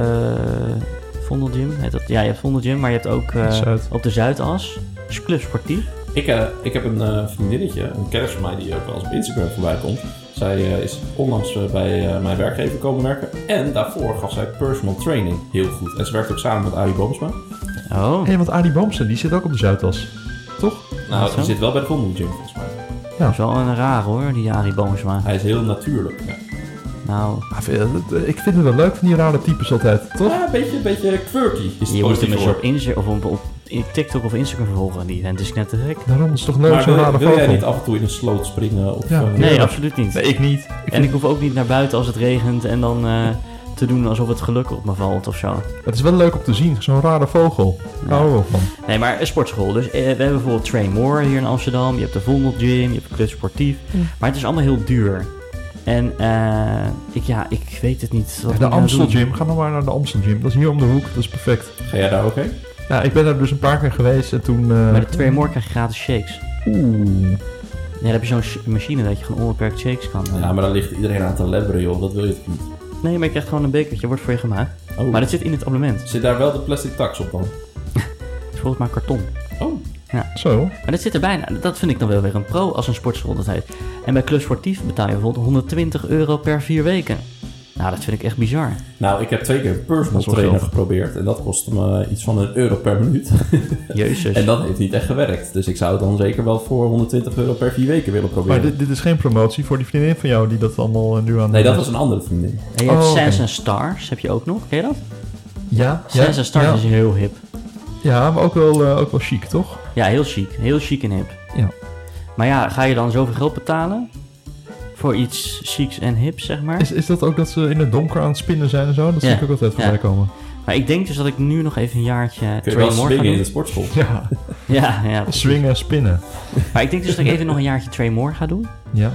A: Vondelgym. Heet dat? Ja, je hebt Vondelgym, maar je hebt ook eh,
B: Zuid.
A: op de Zuidas. Dus Club Sportief.
C: Ik, eh, ik heb een eh, vriendinnetje, een kennis van mij die ook wel eens op Instagram voorbij komt. Zij eh, is onlangs eh, bij eh, mijn werkgever komen werken. En daarvoor gaf zij personal training heel goed. En ze werkt ook samen met Arie Boomsma.
A: Oh,
B: Hé, want Adi Boomsen, die zit ook op de Zuidas. Toch?
C: Nou,
A: Zo.
C: die zit wel bij de Vondel Gym volgens mij.
A: dat is wel een raar hoor, die Arie Boomsma.
C: Hij is heel natuurlijk. Ja.
A: Nou,
B: Ah, vind- eh, Ik vind het wel leuk van die rare types altijd, toch?
C: Ja, een beetje, een beetje quirky is het
A: Je moet hem
C: positieve
A: eens op,
C: woord.
A: Insta of op, op TikTok of Instagram vervolgen. Die vent is net te gek.
B: Daarom is het toch leuk
C: Maar
B: zo'n
C: wil,
B: rare
C: wil jij niet
B: vogel.
C: af en toe in een sloot springen? Of,
B: Ja.
C: eh,
A: Nee,
B: Ja.
A: absoluut niet.
B: Nee, ik niet. Ik
A: En
B: vind-
A: ik hoef ook niet naar buiten als het regent en dan eh, te doen alsof het geluk op me valt of zo.
B: het is wel leuk om te zien, zo'n rare vogel. Daar houden we wel van.
A: Nee, maar een sportschool. Dus eh, we hebben bijvoorbeeld Train More hier in Amsterdam. Je hebt de Vondel Gym, je hebt Club Sportief. Maar het is allemaal heel duur. En eh, ik, ja, ik weet het niet. Wat
B: Ja,
A: moet
B: De
A: ik nou
B: Amstel
A: doen?
B: Gym, ga nou maar naar de Amstel Gym. Dat is hier om de hoek, dat is perfect.
C: ga jij daar ook heen?
B: Ja, ik ben daar dus een paar keer geweest en toen... eh,
A: Bij de Train More krijg je gratis shakes.
B: Oeh.
A: Ja, dan heb je zo'n sh- machine dat je gewoon onbeperkt shakes kan. eh,
C: Ja, maar dan ligt iedereen aan te lebberen, joh. Dat wil je toch niet.
A: Nee, maar je krijgt gewoon een bekertje, wordt voor je gemaakt.
C: Oh.
A: Maar dat zit in het abonnement.
C: Zit daar wel de plastic tax op dan?
A: Het is volgens mij karton.
C: Oh,
B: Zo.
A: Maar dat zit er bijna. Dat vind ik dan wel weer een pro als een sportschool dat heet. En bij Club Sportief betaal je bijvoorbeeld 120 euro per vier weken. Nou, dat vind ik echt bizar.
C: Nou, ik heb twee keer een personal
B: Dat is wel
C: trainer
B: geld.
C: geprobeerd. En dat kostte me iets van een euro per minuut.
A: Jezus.
C: en dat heeft niet echt gewerkt. Dus ik zou het dan zeker wel voor 120 euro per vier weken willen
B: Maar
C: proberen.
B: dit, dit is geen promotie voor die vriendin van jou die dat allemaal eh, nu aan
C: Nee, dat was een andere vriendin.
A: En je hebt
B: Oh, oké.
A: Sense and Stars, heb je ook nog. Ken je dat?
B: Ja, ja,
A: Sense and Stars
B: ja.
A: is heel hip.
B: Ja, maar ook wel, eh, ook wel chic, toch?
A: Ja, heel chic. Heel chic en hip.
B: Ja.
A: Maar ja, ga je dan zoveel geld betalen voor iets chics en hips, zeg maar?
B: Is, is dat ook dat ze in het donker aan het spinnen zijn en zo? Dat
A: Ja.
B: zie ik ook altijd voorbij
A: Ja.
B: komen.
A: Maar ik denk dus dat ik nu nog even een jaartje
C: Kun je
A: Trey
C: wel
A: Moore ga
C: swingen in de
A: doen.
C: sportschool?
B: Ja,
A: Ja, ja.
B: swingen, spinnen.
A: Maar ik denk dus dat ik even nog een jaartje Trey Moore ga doen.
B: Ja.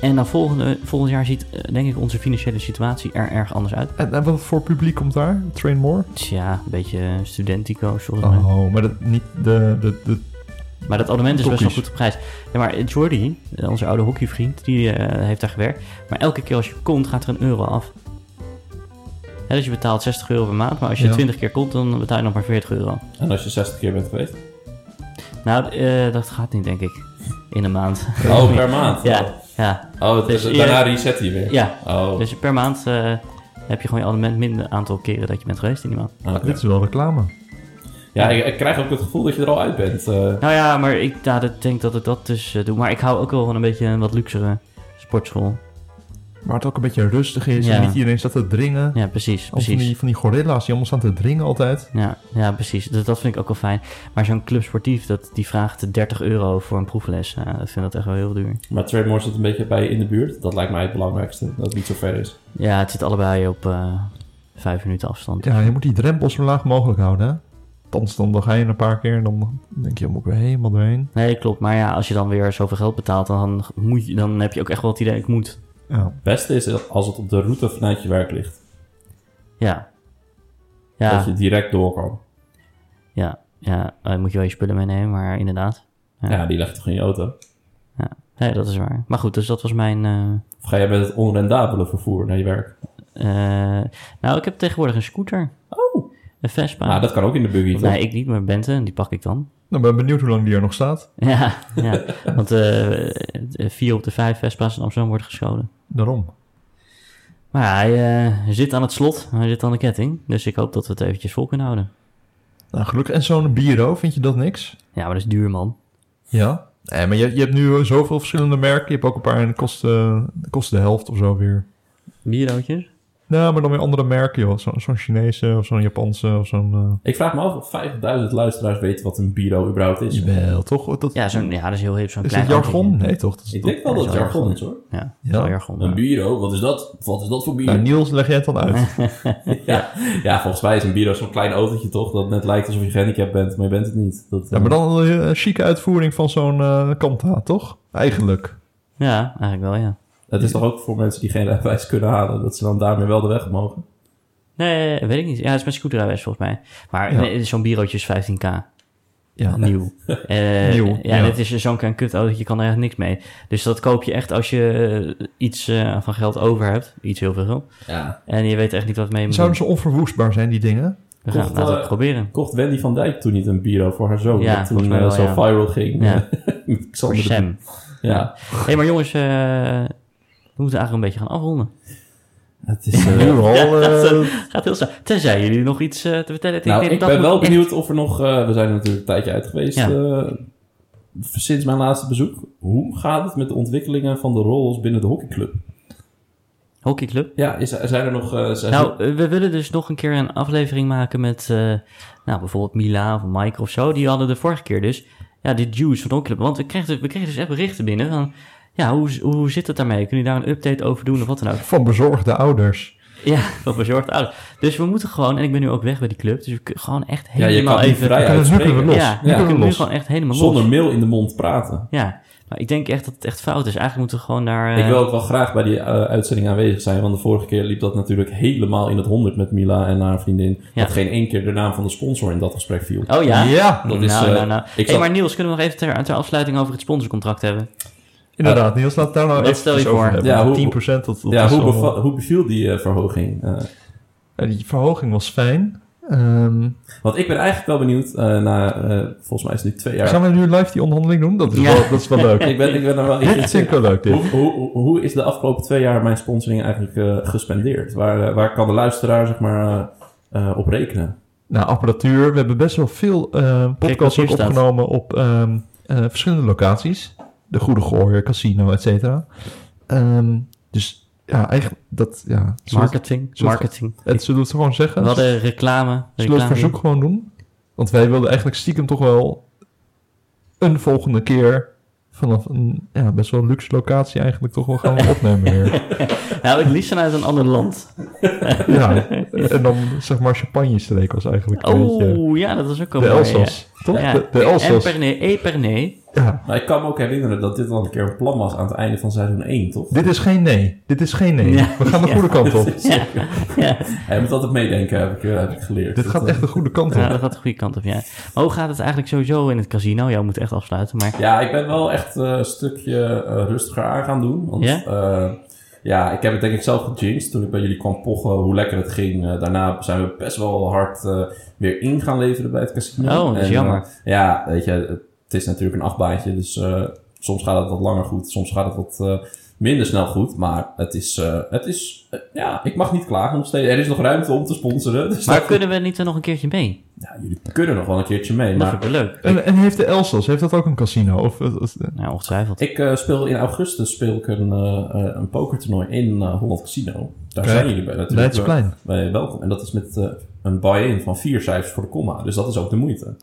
A: En dan volgende, volgend jaar ziet, eh, denk ik, onze financiële situatie er erg anders uit.
B: En, en wat voor publiek komt daar? Train More?
A: Tja, een beetje eh, studentico's volgens mij.
B: Oh, maar dat, niet de, de, de...
A: Maar dat abonnement is best wel
B: Tokkies.
A: goed op prijs. Ja, maar Jordy, eh, onze oude hockeyvriend, die eh, heeft daar gewerkt. Maar elke keer als je komt, gaat er een euro af. Hè, dus je betaalt 60 euro per maand, maar als je
B: Ja.
A: 20 keer komt, dan betaal je nog maar 40 euro.
C: En als je 60 keer bent geweest?
A: Nou, eh, dat gaat niet, denk ik. In een maand.
C: Oh, per maand?
A: Ja, ja.
C: Oh, het is,
A: Dus
C: daarna
A: eer-
C: reset hij weer?
A: ja.
C: Oh,
A: Dus per maand eh, heb je gewoon je abonnement minder aantal keren dat je bent geweest in die maand.
C: oké.
B: Dit is wel reclame.
C: Ja, ik, ik krijg ook het gevoel dat je er al uit bent. eh.
A: Nou ja, maar ik ja, dat- denk dat ik dat dus eh, doe. Maar ik hou ook wel van een beetje een wat luxere sportschool.
B: Waar het ook een beetje rustig is
A: Ja.
B: en niet iedereen staat te dringen.
A: Ja, precies,
B: Al Van,
A: precies.
B: die, van die gorilla's die allemaal staan te dringen altijd.
A: Ja, ja precies. Dat, dat vind ik ook wel fijn. Maar zo'n club sportief, dat, die vraagt 30 euro voor een proefles. Ja, ik vind dat echt wel heel duur.
C: Maar Trey Moore zit een beetje bij je in de buurt. Dat lijkt mij het belangrijkste. Dat het niet zo ver is.
A: Ja, het zit allebei op eh vijf minuten afstand.
B: Ja, je moet die drempels zo laag mogelijk houden. Hè? Anders dan, dan ga je een paar keer en dan denk je, moet ik weer helemaal doorheen.
A: Nee, klopt. Maar ja, als je dan weer zoveel geld betaalt, dan, moet je, dan heb je ook echt wel het idee, ik moet.
B: Ja.
C: Het beste is als het op de route vanuit je werk ligt.
A: Ja.
C: Dat
A: Ja,
C: je direct door kan.
A: ja, ja. Eh, moet je wel je spullen meenemen, maar inderdaad. Ja.
C: Ja, die legt toch in je auto?
A: Nee, dat is waar. Maar goed, dus dat was mijn... eh,
C: Of ga jij met het onrendabele vervoer naar je werk?
A: Eh, nou, ik heb tegenwoordig een scooter.
C: Oh.
A: Een Vespa.
C: Nou, dat kan ook in de buggy, toch?
A: nee, ik niet, maar Bente, die pak ik dan.
B: Nou, ben benieuwd hoe lang die er nog staat.
A: Ja, ja. want eh, vier op de vijf Vespa's in Amsterdam worden geschoten.
B: Daarom.
A: Maar hij eh, zit aan het slot, hij zit aan de ketting. Dus ik hoop dat we het eventjes vol kunnen houden.
B: Nou, gelukkig. En zo'n bureau, vind je dat niks?
A: Ja, maar dat is duur, man.
B: Ja. Nee, maar je, je hebt nu eh, zoveel verschillende merken. Je hebt ook een paar en dat kost, eh, dat kost de helft of zo weer.
A: Bierroodjes?
B: Nou, maar dan weer andere merken, joh. Zo- Zo'n Chinese of zo'n Japanse of zo'n... eh,
C: Ik vraag me af of 5000 luisteraars weten wat een bureau überhaupt is.
B: Jawel, toch? Dat,
A: Ja, zo'n- ja, dat is heel hip, zo'n
B: is
A: klein...
B: dat jargon?
A: autootje.
B: Nee, toch? Dat is-
C: Ik denk wel dat het jargon is, hoor.
A: Ja,
B: Ja.
A: wel jargon.
C: Een
A: ja.
C: bureau, wat is dat? Wat is dat voor
B: Nou,
C: bureau?
B: Niels, leg jij het dan uit?
C: Ja, ja, volgens mij is een bureau zo'n klein autootje, toch? Dat net lijkt alsof je gehandicapt bent, maar je bent het niet. Dat,
B: ja, maar dan een eh, chique uitvoering van zo'n eh, Kanta, toch? Eigenlijk.
A: Ja, eigenlijk wel, ja.
C: Het is toch ook voor mensen die geen rijbewijs kunnen halen, dat ze dan daarmee wel de weg mogen?
A: Nee, weet ik niet. Ja, dat is mijn scooterrijwijs volgens mij. Maar
B: Ja.
A: nee, zo'n bierroodje is 15k.
B: Ja.
A: Nieuw. Eh,
B: Nieuw,
A: Ja,
B: ja.
A: dit is zo'n klein kutauto, je kan er echt niks mee. Dus dat koop je echt als je eh, iets eh, van geld over hebt. Iets heel veel geld.
C: Ja.
A: En je weet echt niet wat mee moet
B: Zouden
A: doen.
B: ze onverwoestbaar zijn, die dingen?
A: We gaan
C: Kost,
A: laten we
C: eh,
A: het proberen.
C: Kocht Wendy van Dijk toen niet een bureau voor haar zoon?
A: Ja,
C: dat toen
A: volgens mij
C: eh,
A: wel,
C: zo
A: ja.
C: viral ging.
A: Ja.
C: Met
A: Voor
C: Xander de
A: Sam.
C: Bie- Ja.
A: Hé, hey, maar jongens, eh, we moeten eigenlijk een beetje gaan afronden.
C: Het is, eh,
B: Nu al... eh,
A: Gaat heel snel. Tenzij jullie nog iets eh, te vertellen.
C: nou,
A: denk
C: ik
A: dat
C: ben
A: moet
C: wel
A: echt-
C: benieuwd of er nog... eh, we zijn er natuurlijk een tijdje uit geweest.
A: Ja.
C: eh, sinds mijn laatste bezoek. Hoe gaat het met de ontwikkelingen van de roles binnen de hockeyclub?
A: Hockeyclub.
C: Ja, is, zijn er nog... eh, zijn-
A: Nou, eh, we willen dus nog een keer een aflevering maken met eh, nou, bijvoorbeeld Mila of Mike of zo. Die hadden de vorige keer dus ja, de Jews van Onclub. Want we kregen, we kregen dus echt berichten binnen van... Ja, hoe, hoe zit het daarmee? Kun je daar een update over doen of wat dan ook?
B: Van bezorgde ouders.
A: Ja, van bezorgd ouders. Dus we moeten gewoon... En ik ben nu ook weg bij die club. Dus we kunnen gewoon echt
C: ja, je
A: helemaal
C: kan niet
A: even...
C: vrij
B: Ja, dat is nu kunnen we
C: uitspreken.
A: Ja,
B: los. Nu
A: we
B: kunnen we
A: kunnen nu
B: los.
A: gewoon echt helemaal
C: Zonder
A: los.
C: mail in de mond praten.
A: Ja, maar ik denk echt dat het echt fout is. Eigenlijk moeten we gewoon daar... eh,
C: Ik wil ook wel graag bij die eh, uitzending aanwezig zijn, want de vorige keer liep dat natuurlijk helemaal in het honderd met Mila en haar vriendin.
A: Ja.
C: Dat geen één keer de naam van de sponsor in dat gesprek viel.
A: Oh ja?
B: Ja,
C: dat
A: nou,
C: is, eh,
A: nou, nou.
C: ik
A: hey,
C: zat-
A: maar Niels, kunnen we nog even ter, ter afsluiting over het sponsorcontract hebben?
B: Inderdaad, Niels, laat daar nou
A: dat
B: even
A: stel je
B: iets over
A: voor.
B: hebben.
C: Ja, hoe-
B: 10% dat, dat
C: ja,
B: is
C: hoe,
B: allemaal-
C: beva- hoe beviel die eh, verhoging? Eh,
B: Ja, Die verhoging was fijn. Eh, Ehm,
C: Want ik ben eigenlijk wel benieuwd, eh, na, eh, volgens mij is het nu twee jaar.
B: Gaan we nu live die onderhandeling doen? Dat is
A: Ja.
B: wel, dat is wel leuk.
C: Ik ben, ik ben er wel
B: Dit vind ik wel leuk, dit.
C: Hoe, hoe, hoe is de afgelopen twee jaar mijn sponsoring eigenlijk eh, gespendeerd? Waar, eh, waar kan de luisteraar zeg maar, eh, eh, op rekenen?
B: Nou, apparatuur. We hebben best wel veel eh
A: Kijk wat
B: podcasts
A: hier
B: ook
A: staat.
B: opgenomen op ehm, eh, verschillende locaties. De Goede Gooier, Casino, et cetera. Ehm, dus ja, eigenlijk dat... Ja, zullen we
A: Marketing.
B: zullen we-
A: Marketing.
B: het- het, zullen we het gewoon
A: We
B: zeggen?
A: hadden reclame.
B: zullen we
A: eh, reclame
B: het verzoek gewoon doen? Want wij wilden eigenlijk stiekem toch wel een volgende keer vanaf een ja, best wel luxe locatie eigenlijk toch wel gaan opnemen weer.
A: Nou, het liefst vanuit een ander land.
B: ja, en dan zeg maar champagne-streek was eigenlijk een beetje
A: Oh, ja, dat was ook al
B: de
A: mooi,
B: Elsass. Toch?
A: Ja.
B: De, de
A: Ja, En
B: Elsass.
A: Pernay, E. Pernay.
B: Ja.
C: Nou, ik kan me ook herinneren dat dit al een keer een plan was aan het einde van seizoen 1, toch?
B: Dit is geen nee. Dit is geen nee.
A: Ja.
B: We gaan de
A: Ja.
B: goede kant op.
A: Ja, ja.
C: Hij moet altijd meedenken, heb ik, eh, heb ik geleerd.
B: Dit
C: Dat,
B: gaat
C: eh,
B: echt de goede kant
A: ja,
B: op.
A: dat gaat de goede kant op, ja. Maar hoe gaat het eigenlijk sowieso in het casino? Jou moet echt afsluiten, maar...
C: Ja, ik ben wel echt eh, een stukje eh, rustiger aan gaan doen. Want
A: Ja?
C: eh, ja, ik heb het denk ik zelf gejinxed toen ik bij jullie kwam pochen hoe lekker het ging. Eh, daarna zijn we best wel hard eh, weer in gaan leveren bij het casino.
A: Oh, dat is
C: En,
A: jammer.
C: eh, ja, weet je, het is natuurlijk een achtbaantje. Dus eh, soms gaat het wat langer goed, soms gaat het wat... eh, Minder snel goed, maar het is, eh, het is eh, ja, ik mag niet klagen nog steeds. Er is nog ruimte om te sponsoren. Dus
A: Maar
C: dat-
A: kunnen we niet er nog een keertje mee?
C: ja, jullie kunnen nog wel een keertje mee.
A: Dat
B: Nou.
C: Maar
A: vind ik wel leuk.
B: En, en heeft de Elsass, heeft dat ook een casino? Of, of- of-
A: Nou, ongetwijfeld.
C: Ik eh, speel in augustus speel ik een, eh, eh, een pokertoernooi in eh Holland Casino. Daar
B: Kijk,
C: zijn jullie bij natuurlijk. eh,
B: bij het Splein.
C: Bij welkom. En dat is met eh, een buy-in van vier cijfers voor de comma. Dus dat is ook de moeite.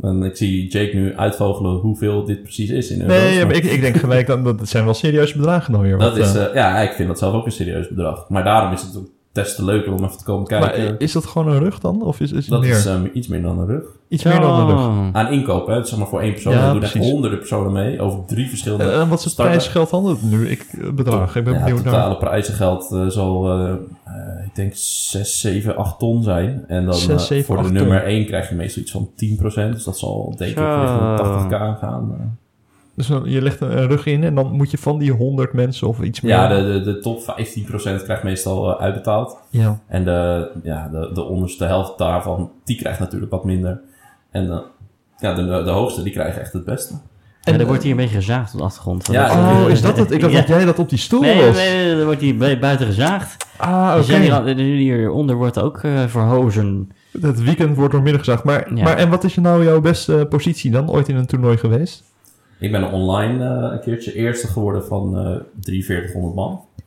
C: En ik zie Jake nu uitvogelen hoeveel dit precies is in euro's.
B: Nee,
C: maar
B: maar ik, ik denk gelijk dan, dat het zijn wel serieuze bedragen dan weer.
C: dat
B: want,
C: is,
B: eh,
C: eh, ja, ik vind dat zelf ook een serieus bedrag. Maar daarom is het ook des te leuker om even te komen
B: maar
C: kijken.
B: is dat gewoon een rug dan? Of is, is het
C: dat
B: meer?
C: is eh, iets meer dan een rug.
B: iets meer dan een rug.
A: Oh.
C: Aan inkoop, hè. Zeg maar voor één persoon.
B: Ja,
C: er doen echt
B: precies.
C: honderden personen mee. Over drie verschillende
B: Eh, En, en wat is het
C: Starten.
B: prijsgeld dan? Dat Nu ik eh, bedrag. Ik ben
C: ja,
B: benieuwd naar.
C: totale prijzengeld eh, zal, eh, eh, ik denk, 6, 7, 8 ton zijn. En dan eh,
B: Zes, zeven,
C: voor de
B: acht
C: nummer 1 krijg je meestal iets van 10%. Dus dat zal denk ik
A: Zo.
C: richting de 80k gaan. eh.
B: Dus dan- je legt een, een rug in en dan moet je van die 100 mensen of iets meer.
C: Ja, de, de, de top 15% krijgt meestal eh, uitbetaald.
B: ja.
C: En de, ja, de, de onderste helft daarvan, die krijgt natuurlijk wat minder. En eh, ja, de, de, de hoogste, die krijgen echt het beste.
A: En er
B: En-
A: wordt hier een beetje gezaagd op de achtergrond.
C: Ja,
B: Oh, is dat het? Ik dacht
A: Ja.
B: dat jij dat op die stoel
A: Nee,
B: was.
A: nee, nee, er wordt hier bu- buiten gezaagd.
B: Ah,
A: Er
B: oké.
A: zijn hier al- er- Hieronder wordt ook eh, verhozen.
B: Dat weekend wordt doormidden gezagd. Maar,
A: Ja.
B: maar en wat is nou jouw beste positie dan ooit in een toernooi geweest?
C: Ik ben online eh, een keertje eerste geworden van eh 4300 man.
B: En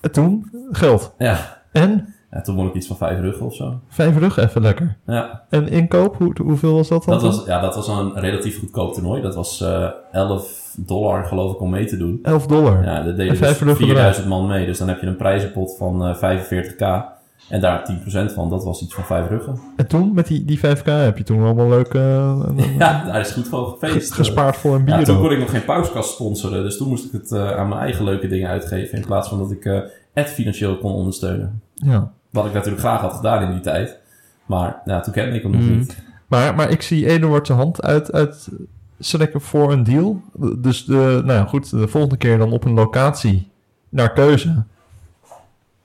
B: Eh, toen? Geld.
C: Ja.
B: En?
C: ja, toen won ik iets van vijf ruggen of zo.
B: Vijf rug even lekker.
C: Ja,
B: En inkoop, hoe, hoeveel was dat dan?
C: Dat was, ja, dat was een relatief goedkoop toernooi. Dat was eh 11 dollar, geloof ik, om mee te doen.
B: 11 dollar.
C: Ja, daar
B: En
C: deden
B: vijf
C: dus
B: ruggen
C: 4000 man mee. Dus dan heb je een prijzenpot van eh 45k. En daar 10% van, dat was iets van vijf ruggen.
B: En toen, met die, die 5k, heb je toen allemaal leuk eh, een- een-
C: Ja, daar is goed voor
B: ge-
C: gefeest.
B: gespaard voor een bier.
C: Ja, toen
B: ook.
C: kon ik nog geen pauskast sponsoren. Dus toen moest ik het eh, aan mijn eigen leuke dingen uitgeven. In plaats van dat ik eh het financieel kon ondersteunen.
B: Ja.
C: Wat ik natuurlijk graag had gedaan in die tijd. Maar ja, toen kende ik hem nog
B: Mm.
A: Mhm.
C: niet.
B: Maar, maar ik zie Eduard zijn hand uit, uit strekken voor een deal. Dus de, nou ja, goed, de volgende keer dan op een locatie naar keuze.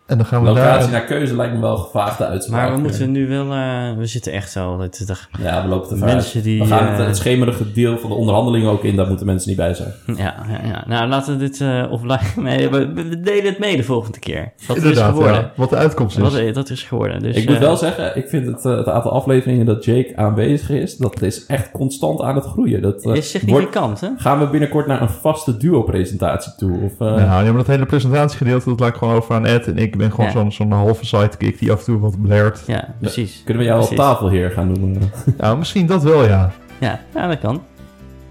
B: En dan gaan we
C: Locatie
B: daar...
C: naar keuze lijkt me wel een gevaagde uitspraak.
A: Maar we moeten nu wel... eh, we zitten echt zo... dat is toch-
C: Ja, we lopen te ver.
A: Mensen die,
C: we gaan
A: eh,
C: het, het schemerige deel van de onderhandelingen ook in. Daar moeten mensen niet bij zijn.
A: Ja, ja, ja. Nou, laten we dit eh, offline... Nee, we, we delen het mee de volgende keer. Wat er is
B: Inderdaad,
A: geworden.
B: ja, wat de uitkomst is.
A: Wat, eh, dat is geworden. Dus,
C: ik moet
A: eh,
C: wel zeggen, ik vind het, eh, het aantal afleveringen dat Jake aanwezig is... dat is echt constant aan het groeien. Dat, eh,
A: is
C: wordt-
A: significant, hè?
C: gaan we binnenkort naar een vaste duo-presentatie toe? Of, eh,
B: Ja, ja, maar dat hele presentatiegedeelte, dat laat ik gewoon over aan Ed. En ik ben gewoon
A: Ja.
B: zo'n, zo'n halve sidekick die af en toe wat blaart.
A: Ja, precies.
C: Kunnen we jou
A: Precies.
C: al tafelheer gaan noemen?
B: Nou, misschien dat wel, ja.
A: Ja, ja, dat kan.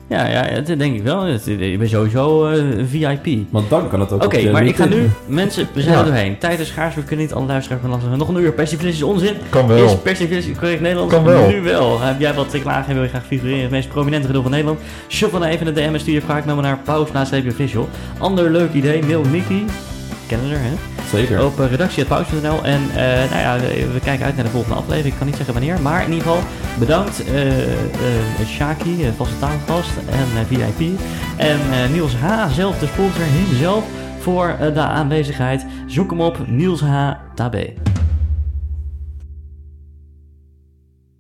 A: Ja, ja, dat denk ik wel. Dat- Ik ben sowieso eh, VIP.
C: Want dan kan het ook
A: Oké,
C: op je
A: maar ik ga
C: LinkedIn.
A: nu... Mensen, we zijn
B: Ja.
A: er doorheen. Tijd is schaars, we kunnen niet alle luisteraars meer lasten. Nog een uur. Persiflis is onzin.
B: Kan
A: Is
B: wel.
A: persiflis correct Nederlands?
B: Kan wel.
A: Nu wel. Heb jij wat te klagen en wil je graag figureren in het meest prominente gedeelte van Nederland? Shuffle dan even naar de DM en stuur je vraag naar pauze naast official. Ander leuk idee, mail Nicky. Kennen er, hè?
C: Zeker.
A: op eh, redactie.pauws.nl. En eh, nou ja, we, we kijken uit naar de volgende aflevering. Ik kan niet zeggen wanneer. Maar in ieder geval bedankt eh, eh, Shaki, eh, vaste taalgast en eh, VIP. En eh, Niels H, zelf de sponsor, hemzelf, voor eh, de aanwezigheid. Zoek hem op, Niels H. Tabé.